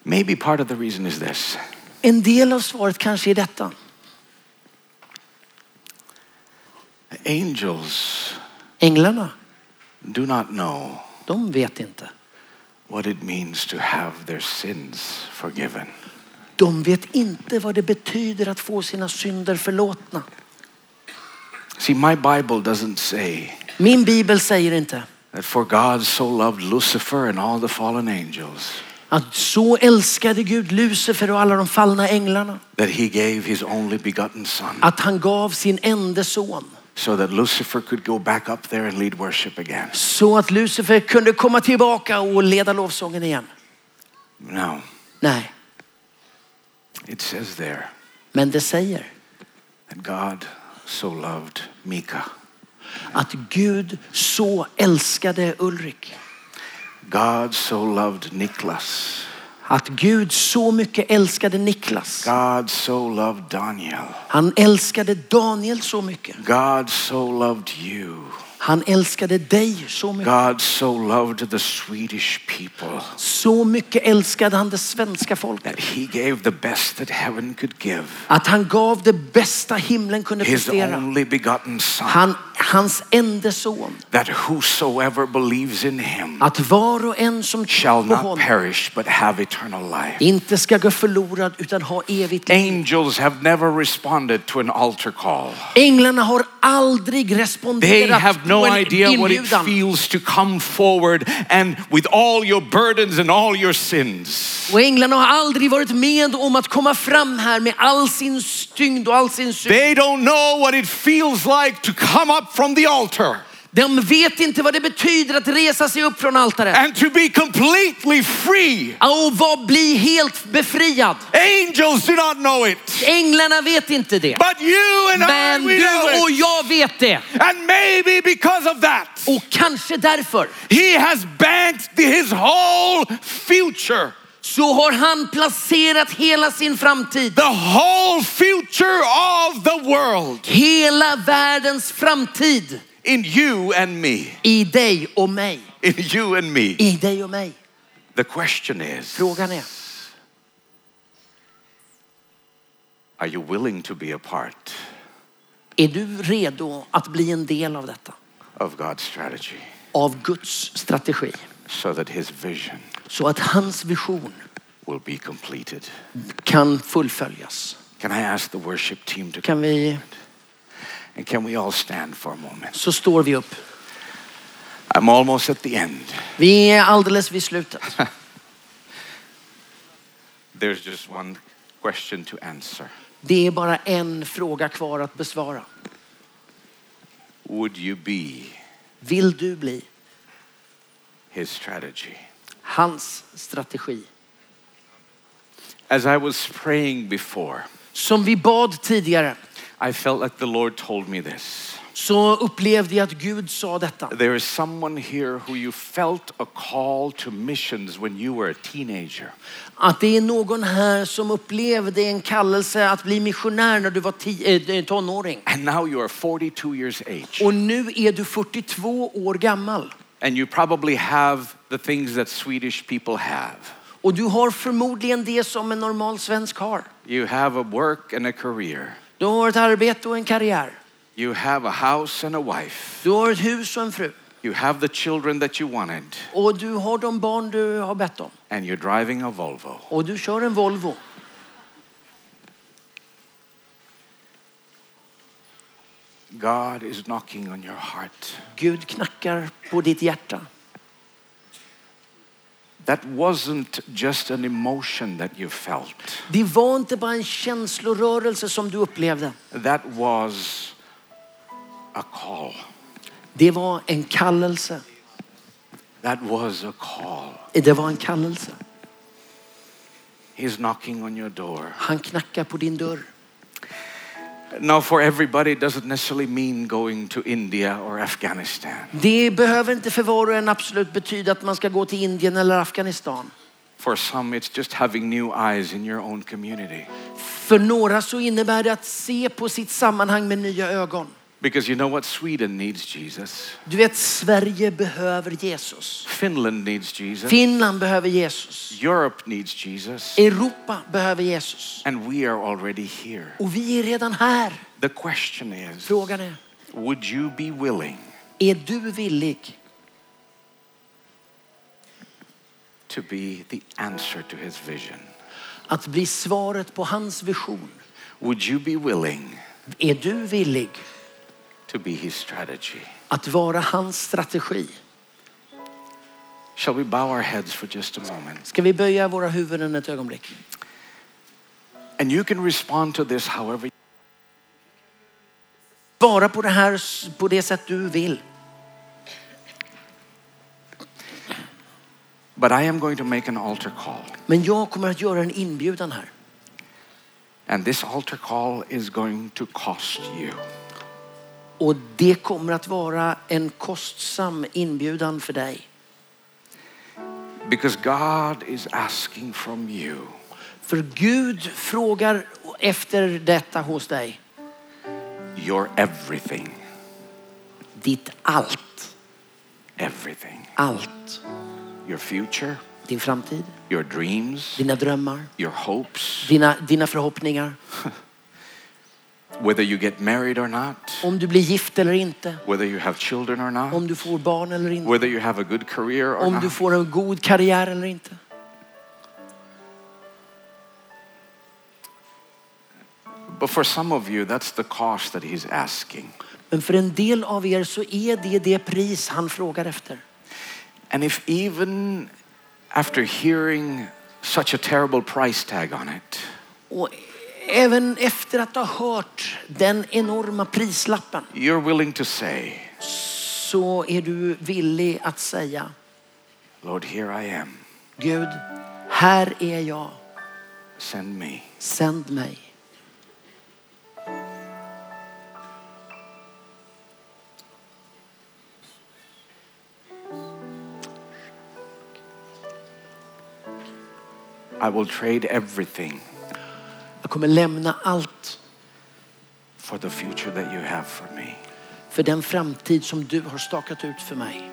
[SPEAKER 1] Maybe part of the reason is this.
[SPEAKER 2] En del av svaret kanske är detta.
[SPEAKER 1] Angels
[SPEAKER 2] Änglarna,
[SPEAKER 1] do not know
[SPEAKER 2] de vet inte.
[SPEAKER 1] what it means to have their sins forgiven.
[SPEAKER 2] De vet inte vad det betyder att få sina synder förlåtna.
[SPEAKER 1] See, my Bible doesn't say
[SPEAKER 2] Min bibel säger inte
[SPEAKER 1] that for God so loved Lucifer and all the fallen angels
[SPEAKER 2] att så älskade Gud Lucifer och alla de fallna änglarna
[SPEAKER 1] that he gave his only begotten Son
[SPEAKER 2] att han gav sin enda son
[SPEAKER 1] so that Lucifer could go back up there and lead worship again.
[SPEAKER 2] så att Lucifer kunde komma tillbaka och leda lovsången igen.
[SPEAKER 1] No,
[SPEAKER 2] Nej,
[SPEAKER 1] it says there
[SPEAKER 2] men det säger
[SPEAKER 1] that God so loved Mika.
[SPEAKER 2] att Gud så älskade Ulrik.
[SPEAKER 1] God so loved Niklas.
[SPEAKER 2] Att Gud så mycket älskade Niklas.
[SPEAKER 1] God so loved Daniel.
[SPEAKER 2] Han älskade Daniel så mycket.
[SPEAKER 1] God so loved you.
[SPEAKER 2] Han älskade dig så mycket.
[SPEAKER 1] God so loved the Swedish people
[SPEAKER 2] Så mycket älskade han det svenska
[SPEAKER 1] that
[SPEAKER 2] folket.
[SPEAKER 1] he gave the best that heaven could give
[SPEAKER 2] Att han gav det bästa himlen kunde
[SPEAKER 1] his
[SPEAKER 2] prestera.
[SPEAKER 1] only begotten Son,
[SPEAKER 2] Han, hans enda son.
[SPEAKER 1] that whosoever believes in him
[SPEAKER 2] Att var och en som
[SPEAKER 1] shall
[SPEAKER 2] tror på
[SPEAKER 1] not
[SPEAKER 2] honom
[SPEAKER 1] perish but have eternal life.
[SPEAKER 2] inte ska gå förlorad utan ha evigt liv.
[SPEAKER 1] Angels have never responded to an altar call.
[SPEAKER 2] Änglarna har aldrig
[SPEAKER 1] They
[SPEAKER 2] responderat
[SPEAKER 1] have no
[SPEAKER 2] på en
[SPEAKER 1] idea what it
[SPEAKER 2] inbjudan.
[SPEAKER 1] feels to come forward and with all your burdens and all your sins.
[SPEAKER 2] Och änglarna har aldrig varit med om att komma fram här med all sin tyngd och all sin synd.
[SPEAKER 1] They don't know what it feels like to come up from the altar
[SPEAKER 2] De vet inte vad det betyder att resa sig upp från altaret
[SPEAKER 1] and to be completely free.
[SPEAKER 2] och vad bli helt befriad.
[SPEAKER 1] Angels do not know it,
[SPEAKER 2] Änglarna vet inte det.
[SPEAKER 1] but you and I,
[SPEAKER 2] Men
[SPEAKER 1] we
[SPEAKER 2] du
[SPEAKER 1] know
[SPEAKER 2] och
[SPEAKER 1] it.
[SPEAKER 2] jag vet det.
[SPEAKER 1] And maybe because of that,
[SPEAKER 2] Och kanske därför
[SPEAKER 1] he has banked his whole future,
[SPEAKER 2] så har han placerat hela sin framtid,
[SPEAKER 1] the whole future of the world
[SPEAKER 2] hela världens framtid
[SPEAKER 1] in you and me.
[SPEAKER 2] i dig och mig.
[SPEAKER 1] In you and me.
[SPEAKER 2] I dig och mig.
[SPEAKER 1] The question is
[SPEAKER 2] Frågan är,
[SPEAKER 1] are you willing to be a part
[SPEAKER 2] är du redo att bli en del av detta?
[SPEAKER 1] of God's strategy
[SPEAKER 2] Av Guds strategi.
[SPEAKER 1] so that his vision
[SPEAKER 2] Så att hans vision
[SPEAKER 1] will be completed?
[SPEAKER 2] kan fullföljas.
[SPEAKER 1] Can I ask the worship team to come?
[SPEAKER 2] Kan vi,
[SPEAKER 1] And can we all stand for a moment?
[SPEAKER 2] så står vi upp.
[SPEAKER 1] I'm almost at the end.
[SPEAKER 2] Vi är alldeles vid slutet.
[SPEAKER 1] There's just one question to answer.
[SPEAKER 2] Det är bara en fråga kvar att besvara.
[SPEAKER 1] Would you be
[SPEAKER 2] Vill du bli
[SPEAKER 1] his strategy?
[SPEAKER 2] hans strategi?
[SPEAKER 1] As I was praying before,
[SPEAKER 2] Som vi bad tidigare
[SPEAKER 1] I felt like the Lord told me this.
[SPEAKER 2] så upplevde jag att Gud sa detta.
[SPEAKER 1] There is someone here who you felt a call to missions when you were a teenager.
[SPEAKER 2] Att det är någon här som upplevde en kallelse att bli missionär när du var ti- eh, tonåring.
[SPEAKER 1] And now you are 42 years age.
[SPEAKER 2] Och nu är du 42 år gammal.
[SPEAKER 1] And you probably have the things that Swedish people have.
[SPEAKER 2] Och du har förmodligen det som en normal svensk har.
[SPEAKER 1] You have a work and a career.
[SPEAKER 2] Du har ett arbete och en karriär.
[SPEAKER 1] You have a house and a wife.
[SPEAKER 2] Du har ett hus och en fru.
[SPEAKER 1] You have the children that you wanted.
[SPEAKER 2] Och du har de barn du har bett om.
[SPEAKER 1] And you're driving a Volvo.
[SPEAKER 2] Och du kör en Volvo.
[SPEAKER 1] God is knocking on your heart.
[SPEAKER 2] Gud knackar på ditt hjärta.
[SPEAKER 1] that wasn't just an emotion that you felt,
[SPEAKER 2] Det var inte bara en känslorörelse som du upplevde.
[SPEAKER 1] that was a call.
[SPEAKER 2] Det var en kallelse.
[SPEAKER 1] That was a call.
[SPEAKER 2] Det var en kallelse.
[SPEAKER 1] He's knocking on your door.
[SPEAKER 2] Han knackar på din dörr.
[SPEAKER 1] Now, for everybody, it doesn't necessarily mean going to India or Afghanistan.
[SPEAKER 2] Det behöver inte för var och en absolut betyda att man ska gå till Indien eller Afghanistan.
[SPEAKER 1] For some, it's just having new eyes in your own community.
[SPEAKER 2] För några så innebär det att se på sitt sammanhang med nya ögon.
[SPEAKER 1] Because you know what? Sweden needs Jesus.
[SPEAKER 2] Du vet, Sverige behöver Jesus.
[SPEAKER 1] Finland needs Jesus.
[SPEAKER 2] Finland behöver Jesus.
[SPEAKER 1] Europe needs Jesus.
[SPEAKER 2] Europa behöver Jesus.
[SPEAKER 1] And we are already here.
[SPEAKER 2] Och vi är redan här.
[SPEAKER 1] The question is
[SPEAKER 2] Frågan är,
[SPEAKER 1] would you be willing
[SPEAKER 2] är du villig
[SPEAKER 1] to be the answer to his vision?
[SPEAKER 2] att bli svaret på hans vision?
[SPEAKER 1] Would you be willing
[SPEAKER 2] Är du villig
[SPEAKER 1] to be his strategy?
[SPEAKER 2] att vara hans strategi?
[SPEAKER 1] Shall we bow our heads for just a moment?
[SPEAKER 2] Ska vi böja våra huvuden ett ögonblick?
[SPEAKER 1] And you can respond to this however
[SPEAKER 2] Svara på det här på det sätt du vill.
[SPEAKER 1] But I am going to make an altar call.
[SPEAKER 2] Men jag kommer att göra en inbjudan här.
[SPEAKER 1] And this altar call is going to cost you.
[SPEAKER 2] Och det kommer att vara en kostsam inbjudan för dig.
[SPEAKER 1] Because God is asking from you
[SPEAKER 2] För Gud frågar efter detta hos dig.
[SPEAKER 1] your everything.
[SPEAKER 2] Ditt allt.
[SPEAKER 1] Everything.
[SPEAKER 2] Allt.
[SPEAKER 1] Your future,
[SPEAKER 2] Din framtid,
[SPEAKER 1] your dreams,
[SPEAKER 2] dina drömmar,
[SPEAKER 1] your hopes,
[SPEAKER 2] dina, dina förhoppningar.
[SPEAKER 1] whether you get married or not,
[SPEAKER 2] Om du blir gift eller inte.
[SPEAKER 1] whether you have children or not,
[SPEAKER 2] Om du får barn eller inte.
[SPEAKER 1] whether you have a good career or
[SPEAKER 2] Om du
[SPEAKER 1] not.
[SPEAKER 2] får en god karriär eller inte.
[SPEAKER 1] But for some of you, that's the cost that He's asking.
[SPEAKER 2] Men för en del av er så är det det pris han frågar efter.
[SPEAKER 1] And if even after hearing such a terrible price tag on it,
[SPEAKER 2] Och även efter att ha hört den enorma prislappen
[SPEAKER 1] you're willing to say,
[SPEAKER 2] så är du villig att säga
[SPEAKER 1] Lord, here I am.
[SPEAKER 2] Gud, här är jag.
[SPEAKER 1] Send me.
[SPEAKER 2] Sänd mig.
[SPEAKER 1] I will trade everything
[SPEAKER 2] Jag kommer lämna allt
[SPEAKER 1] for the future that you have for me.
[SPEAKER 2] för den framtid som du har stakat ut för mig.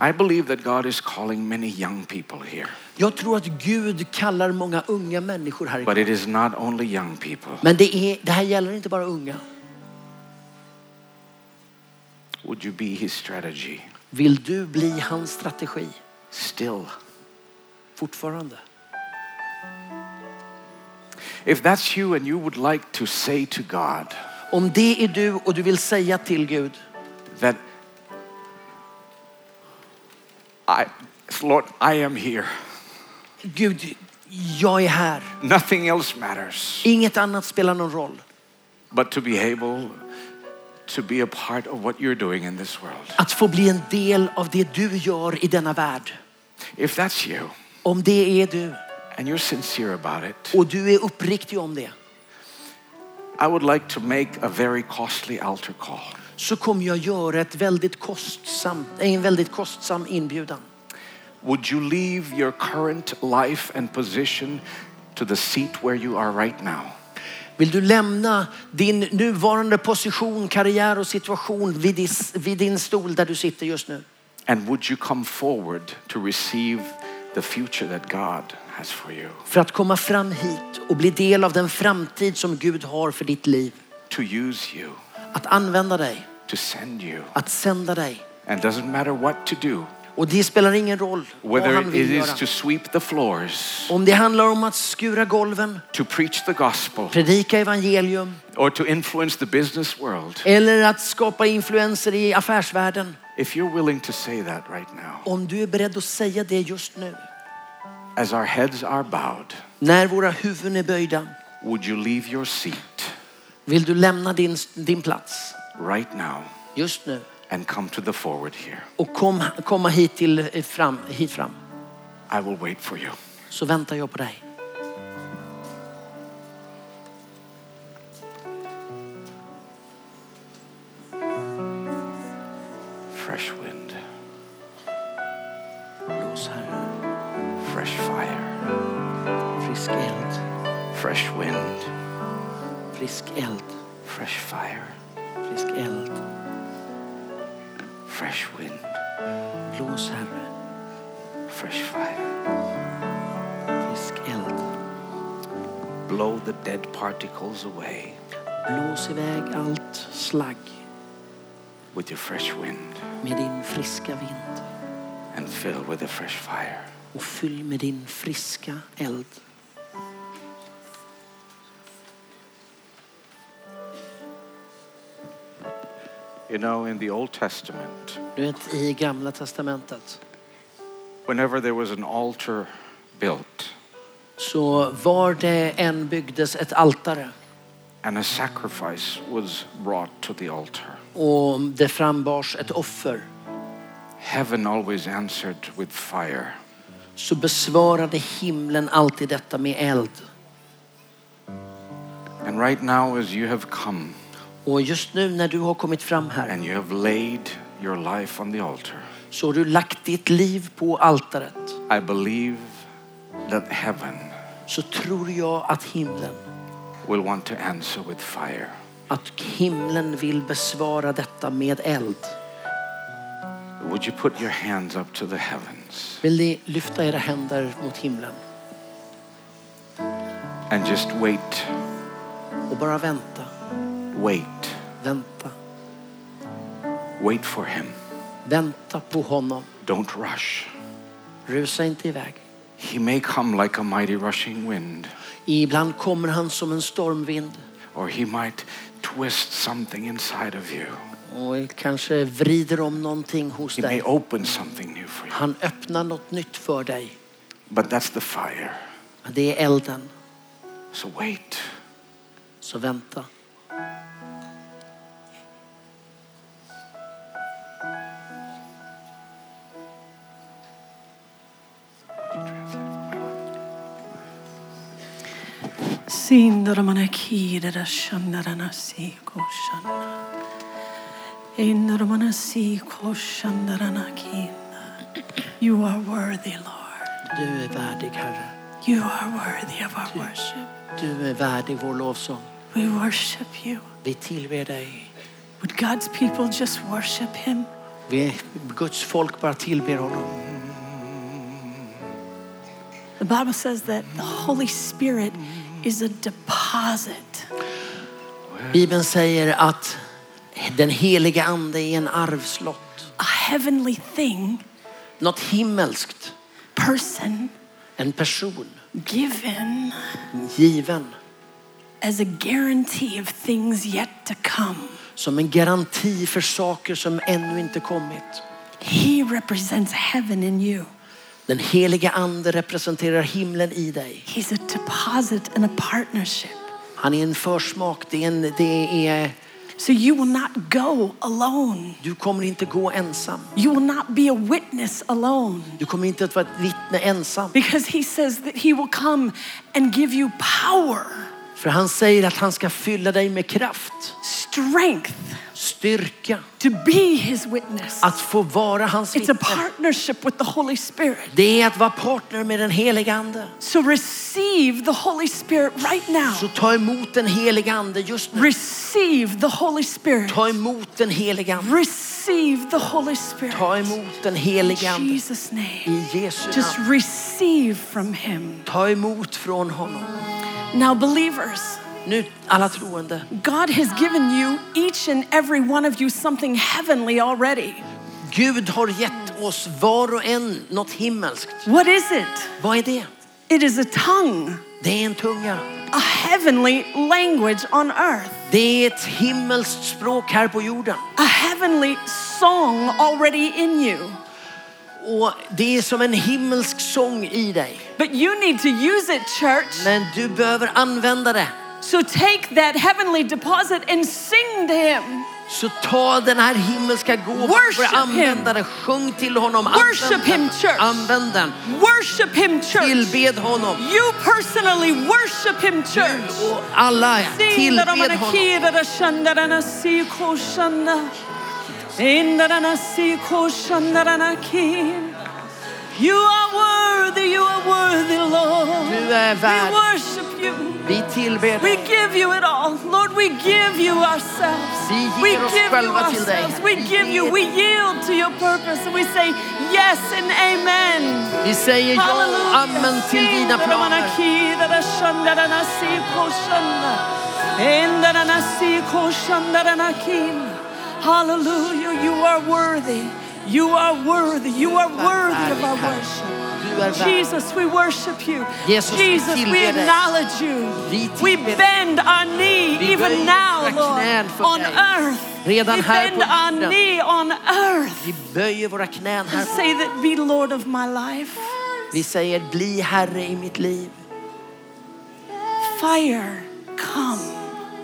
[SPEAKER 1] I believe that God is calling many young people here.
[SPEAKER 2] Jag tror att Gud kallar många unga människor här
[SPEAKER 1] But
[SPEAKER 2] ikväll.
[SPEAKER 1] it is not only young people.
[SPEAKER 2] Men det, är, det här gäller inte bara unga.
[SPEAKER 1] Would you be his strategy?
[SPEAKER 2] Vill du bli hans strategi
[SPEAKER 1] Still.
[SPEAKER 2] fortfarande?
[SPEAKER 1] If that's you and you would like to say to God
[SPEAKER 2] Om det är du och du vill säga till Gud
[SPEAKER 1] that I Lord, I am here.
[SPEAKER 2] Gud, jag är här.
[SPEAKER 1] Nothing else matters
[SPEAKER 2] Inget annat spelar någon roll.
[SPEAKER 1] but to be able to be a part of what you're doing in this world.
[SPEAKER 2] Att få bli en del av det du gör i denna värld.
[SPEAKER 1] If that's you
[SPEAKER 2] Om det är du
[SPEAKER 1] and you're sincere about it,
[SPEAKER 2] och du är uppriktig om det
[SPEAKER 1] I would like to make a very costly altar call.
[SPEAKER 2] så kommer jag göra ett väldigt kostsam, en väldigt kostsam inbjudan.
[SPEAKER 1] Would you leave your current life and position to the seat where you are right now?
[SPEAKER 2] Vill du lämna din nuvarande position, karriär och situation vid din, vid din stol där du sitter just nu?
[SPEAKER 1] And would you come forward to receive the future that God has for you?
[SPEAKER 2] För att komma fram hit och bli del av den framtid som Gud har för ditt liv.
[SPEAKER 1] To use you,
[SPEAKER 2] Att använda dig,
[SPEAKER 1] to send you.
[SPEAKER 2] att sända dig.
[SPEAKER 1] And doesn't matter what to do,
[SPEAKER 2] Och det spelar ingen roll vad
[SPEAKER 1] whether
[SPEAKER 2] han
[SPEAKER 1] it
[SPEAKER 2] vill
[SPEAKER 1] is
[SPEAKER 2] göra.
[SPEAKER 1] to sweep the floors,
[SPEAKER 2] Om det handlar om att skura golven,
[SPEAKER 1] to preach the gospel,
[SPEAKER 2] predika evangelium
[SPEAKER 1] or to influence the business world.
[SPEAKER 2] eller att skapa influenser i affärsvärlden.
[SPEAKER 1] If you're willing to say that right now,
[SPEAKER 2] Om du är beredd att säga det just nu
[SPEAKER 1] as our heads are bowed,
[SPEAKER 2] När våra huvuden är böjda,
[SPEAKER 1] would you leave your seat
[SPEAKER 2] vill du lämna din, din plats
[SPEAKER 1] right now
[SPEAKER 2] just nu
[SPEAKER 1] and come to the forward here?
[SPEAKER 2] och kom, komma hit, till, eh, fram, hit fram
[SPEAKER 1] I will wait for you.
[SPEAKER 2] så väntar jag på dig.
[SPEAKER 1] Fresh wind,
[SPEAKER 2] Blås Herre,
[SPEAKER 1] fresh fire,
[SPEAKER 2] frisk eld,
[SPEAKER 1] fresh wind,
[SPEAKER 2] frisk eld,
[SPEAKER 1] fresh fire,
[SPEAKER 2] frisk eld.
[SPEAKER 1] fresh wind,
[SPEAKER 2] Blås Herre,
[SPEAKER 1] fresh fire.
[SPEAKER 2] frisk eld.
[SPEAKER 1] Blow the dead particles away
[SPEAKER 2] Blås iväg allt slagg
[SPEAKER 1] with your fresh wind
[SPEAKER 2] med din friska vind
[SPEAKER 1] and fill with the fresh fire.
[SPEAKER 2] och fyll med din friska eld.
[SPEAKER 1] You know, in the Old Testament,
[SPEAKER 2] Du vet i gamla testamentet
[SPEAKER 1] whenever there was an altar built
[SPEAKER 2] så var det en byggdes ett altare
[SPEAKER 1] and a sacrifice was brought to the altar,
[SPEAKER 2] och det frambars ett offer
[SPEAKER 1] heaven always answered with fire.
[SPEAKER 2] så besvarade himlen alltid detta med eld.
[SPEAKER 1] And right now, as you have come
[SPEAKER 2] Och just nu när du har kommit fram här
[SPEAKER 1] and you have laid your life on the altar,
[SPEAKER 2] så har du lagt ditt liv på altaret.
[SPEAKER 1] I believe that heaven
[SPEAKER 2] Så tror jag att himlen,
[SPEAKER 1] will want to answer with fire.
[SPEAKER 2] att himlen vill besvara detta med eld.
[SPEAKER 1] Would you put your hands up to the heavens
[SPEAKER 2] Vill ni lyfta era händer mot himlen
[SPEAKER 1] and just wait,
[SPEAKER 2] och bara vänta,
[SPEAKER 1] wait,
[SPEAKER 2] vänta,
[SPEAKER 1] wait for him?
[SPEAKER 2] vänta på honom.
[SPEAKER 1] Don't rush.
[SPEAKER 2] Rusa inte iväg.
[SPEAKER 1] He may come like a mighty rushing wind,
[SPEAKER 2] Ibland kommer han som en stormvind
[SPEAKER 1] or he might twist something inside of you.
[SPEAKER 2] och kanske vrider om någonting hos
[SPEAKER 1] He may
[SPEAKER 2] dig.
[SPEAKER 1] open something new for you.
[SPEAKER 2] Han öppnar något nytt för dig.
[SPEAKER 1] But that's the fire.
[SPEAKER 2] Det är elden.
[SPEAKER 1] So wait.
[SPEAKER 2] Så vänta.
[SPEAKER 3] Sindoromanakidera shandarana siko shanna. Indoromana siko shandarana kinna. You are worthy, Lord.
[SPEAKER 2] Du är värdig, Herre.
[SPEAKER 3] You are worthy of our worship.
[SPEAKER 2] Du är värdig vår lovsång.
[SPEAKER 3] We worship you.
[SPEAKER 2] Vi tillber dig.
[SPEAKER 3] Would God's people just worship Him?
[SPEAKER 2] Vi, Guds folk bara tillber honom.
[SPEAKER 3] The Bible says that the Holy Spirit is a deposit.
[SPEAKER 2] Bibeln säger att den heliga ande är en arvslott.
[SPEAKER 3] A heavenly thing,
[SPEAKER 2] Något himmelskt.
[SPEAKER 3] person
[SPEAKER 2] En person.
[SPEAKER 3] given
[SPEAKER 2] Given.
[SPEAKER 3] as a guarantee of things yet to come.
[SPEAKER 2] Som en garanti för saker som ännu inte kommit.
[SPEAKER 3] He represents heaven in you.
[SPEAKER 2] Den heliga ande representerar himlen i dig.
[SPEAKER 3] He's a deposit and a partnership.
[SPEAKER 2] Han är en försmak. Det är en, det är,
[SPEAKER 3] So you will not go alone.
[SPEAKER 2] du kommer inte gå ensam.
[SPEAKER 3] You will not be a witness alone
[SPEAKER 2] Du kommer inte att vara ett vittne ensam.
[SPEAKER 3] because he says that he will come and give you power,
[SPEAKER 2] För han säger att han ska fylla dig med kraft,
[SPEAKER 3] strength
[SPEAKER 2] styrka,
[SPEAKER 3] to be his witness.
[SPEAKER 2] att få vara hans
[SPEAKER 3] It's a
[SPEAKER 2] vittne.
[SPEAKER 3] partnership with the Holy Spirit.
[SPEAKER 2] Det är att vara partner med den heliga ande.
[SPEAKER 3] So receive the Holy Spirit right now.
[SPEAKER 2] Så ta emot den heliga ande just nu.
[SPEAKER 3] Receive the Holy Spirit.
[SPEAKER 2] Ta emot den heliga ande.
[SPEAKER 3] Receive the Holy
[SPEAKER 2] Ta
[SPEAKER 3] Spirit.
[SPEAKER 2] emot den
[SPEAKER 3] In
[SPEAKER 2] heliga ande
[SPEAKER 3] Jesus' name.
[SPEAKER 2] i Jesu
[SPEAKER 3] Just
[SPEAKER 2] namn.
[SPEAKER 3] receive from him.
[SPEAKER 2] Ta emot från honom.
[SPEAKER 3] Now, believers,
[SPEAKER 2] Nu alla troende,
[SPEAKER 3] God has given you, each and every one of you, something heavenly already.
[SPEAKER 2] Gud har gett oss var och en något himmelskt.
[SPEAKER 3] What is it?
[SPEAKER 2] Vad är det?
[SPEAKER 3] It is a tongue,
[SPEAKER 2] Det är en tunga.
[SPEAKER 3] a heavenly language on earth,
[SPEAKER 2] Det är ett himmelskt språk här på jorden.
[SPEAKER 3] a heavenly song already in you.
[SPEAKER 2] Och det är som en himmelsk sång i dig.
[SPEAKER 3] But you need to use it, church.
[SPEAKER 2] Men du behöver använda det.
[SPEAKER 3] So take that heavenly deposit and sing to Him.
[SPEAKER 2] Så ta den här himmelska gåvan och
[SPEAKER 3] Worship
[SPEAKER 2] börja använda den. Sjung till honom. Använd
[SPEAKER 3] Worship
[SPEAKER 2] den.
[SPEAKER 3] him, church.
[SPEAKER 2] Använd den.
[SPEAKER 3] Worship Him, church.
[SPEAKER 2] Tillbed honom.
[SPEAKER 3] You personally worship Him, church.
[SPEAKER 2] Och alla
[SPEAKER 3] Tillbed
[SPEAKER 2] tillbed honom.
[SPEAKER 3] honom. You are worthy, you are worthy, Lord.
[SPEAKER 2] Du är
[SPEAKER 3] We
[SPEAKER 2] värd.
[SPEAKER 3] worship you.
[SPEAKER 2] Vi tillber
[SPEAKER 3] We
[SPEAKER 2] dig.
[SPEAKER 3] give you it all. Lord, we give you ourselves.
[SPEAKER 2] Vi ger
[SPEAKER 3] We
[SPEAKER 2] oss
[SPEAKER 3] give you
[SPEAKER 2] själva till dig.
[SPEAKER 3] ourselves. We give you, we yield to your purpose and we say yes and amen.
[SPEAKER 2] Vi säger ja och amen till dina planer.
[SPEAKER 3] Hallelujah, you are worthy. You are worthy. You are worthy of our worship.
[SPEAKER 2] Du är värd.
[SPEAKER 3] Jesus, we worship you.
[SPEAKER 2] Jesus, vi
[SPEAKER 3] Jesus, we
[SPEAKER 2] tillber dig.
[SPEAKER 3] acknowledge you.
[SPEAKER 2] Vi tillber
[SPEAKER 3] We
[SPEAKER 2] dig.
[SPEAKER 3] bend our knee
[SPEAKER 2] Vi böjer
[SPEAKER 3] even now,
[SPEAKER 2] våra knän
[SPEAKER 3] Lord,
[SPEAKER 2] för
[SPEAKER 3] on
[SPEAKER 2] dig.
[SPEAKER 3] earth. We
[SPEAKER 2] Redan här
[SPEAKER 3] bend
[SPEAKER 2] på
[SPEAKER 3] our
[SPEAKER 2] jorden.
[SPEAKER 3] knee on earth
[SPEAKER 2] Vi böjer våra knän
[SPEAKER 3] and
[SPEAKER 2] här.
[SPEAKER 3] say that be Lord of my life.
[SPEAKER 2] Vi säger bli Herre i mitt liv.
[SPEAKER 3] Fire, come,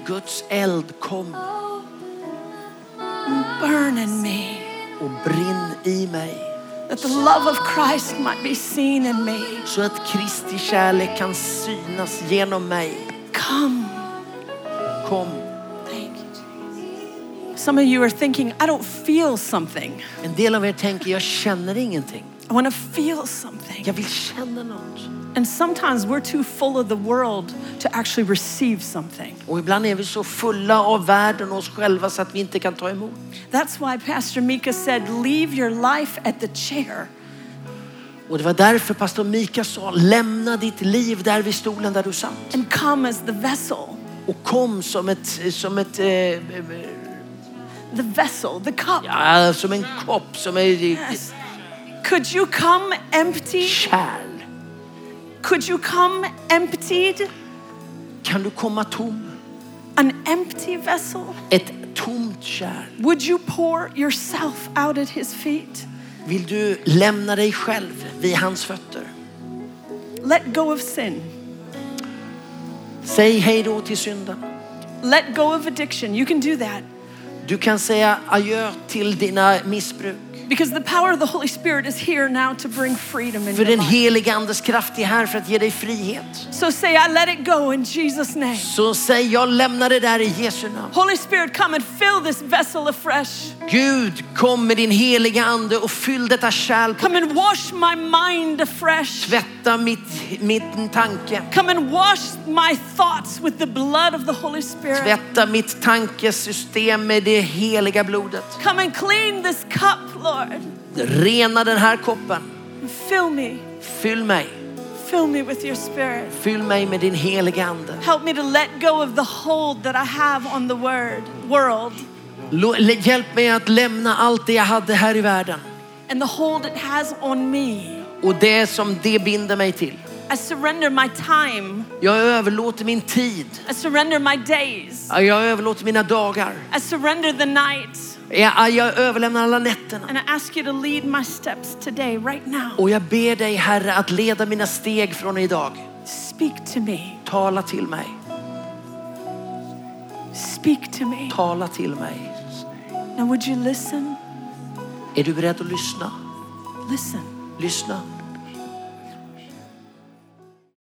[SPEAKER 2] Guds eld kom
[SPEAKER 3] burn in me,
[SPEAKER 2] och brinn i mig
[SPEAKER 3] that the love of Christ might be seen in me.
[SPEAKER 2] så att Kristi kärlek kan synas genom mig.
[SPEAKER 3] Come.
[SPEAKER 2] Kom.
[SPEAKER 3] Thank you, Jesus. Some of you are thinking, I don't feel something.
[SPEAKER 2] En del av er tänker, jag känner ingenting.
[SPEAKER 3] I want to feel something.
[SPEAKER 2] Jag vill känna något.
[SPEAKER 3] And sometimes we're too full of the world to actually receive something.
[SPEAKER 2] Och ibland är vi så fulla av världen och oss själva så att vi inte kan ta emot.
[SPEAKER 3] That's why Pastor Mika said, Leave your life at the chair.
[SPEAKER 2] Och det var därför pastor Mika sa, lämna ditt liv där vid stolen där du satt.
[SPEAKER 3] and come as the vessel,
[SPEAKER 2] Och kom som ett, som ett, eh,
[SPEAKER 3] the vessel, the cup.
[SPEAKER 2] ja, som en kopp, som ett
[SPEAKER 3] Yes. Could you come empty?
[SPEAKER 2] kärl.
[SPEAKER 3] Could you come emptied?
[SPEAKER 2] Kan du komma tom?
[SPEAKER 3] An empty vessel?
[SPEAKER 2] Ett tomt kärl.
[SPEAKER 3] Would you pour yourself out at his feet?
[SPEAKER 2] Vill du lämna dig själv vid hans fötter?
[SPEAKER 3] Let go of sin.
[SPEAKER 2] Säg hej då till synden.
[SPEAKER 3] Let go of addiction. You can do that
[SPEAKER 2] Du kan säga adjö till dina missbruk.
[SPEAKER 3] because the power of the Holy Spirit is here now to bring freedom in
[SPEAKER 2] För
[SPEAKER 3] your
[SPEAKER 2] den
[SPEAKER 3] life.
[SPEAKER 2] helige andes kraft är här för att ge dig frihet.
[SPEAKER 3] So say, I let it go in Jesus' name.
[SPEAKER 2] Så säg jag lämnar det där i Jesu namn.
[SPEAKER 3] Holy Spirit, come and fill this vessel afresh.
[SPEAKER 2] Gud kom med din heliga ande och fyll detta kärl. På.
[SPEAKER 3] Come and wash my mind afresh.
[SPEAKER 2] Tvätta mitt, mitt tanke.
[SPEAKER 3] Come and wash my thoughts with the blood of the Holy Spirit.
[SPEAKER 2] Tvätta mitt tankesystem med det heliga blodet.
[SPEAKER 3] Come and clean this cup, Lord.
[SPEAKER 2] Rena den här koppen.
[SPEAKER 3] Fill me.
[SPEAKER 2] Fyll mig.
[SPEAKER 3] Fill me with your spirit.
[SPEAKER 2] Fyll mig med din heliga ande.
[SPEAKER 3] Help me to let go of the hold that I have on the word, world
[SPEAKER 2] Lo- le- Hjälp mig att lämna allt det jag hade här i världen
[SPEAKER 3] and the hold it has on me.
[SPEAKER 2] och det som det binder mig till.
[SPEAKER 3] I surrender my time.
[SPEAKER 2] Jag överlåter min tid.
[SPEAKER 3] I surrender my days.
[SPEAKER 2] Jag överlåter mina dagar.
[SPEAKER 3] I surrender the night.
[SPEAKER 2] Jag, jag överlämnar alla nätterna.
[SPEAKER 3] And I ask you to lead my steps today, right now.
[SPEAKER 2] Och jag ber dig Herre att leda mina steg från idag.
[SPEAKER 3] Speak to me.
[SPEAKER 2] Tala till mig.
[SPEAKER 3] Speak to me.
[SPEAKER 2] Tala till mig.
[SPEAKER 3] Now, would you listen?
[SPEAKER 2] Är du beredd att lyssna?
[SPEAKER 3] Listen.
[SPEAKER 2] Lyssna.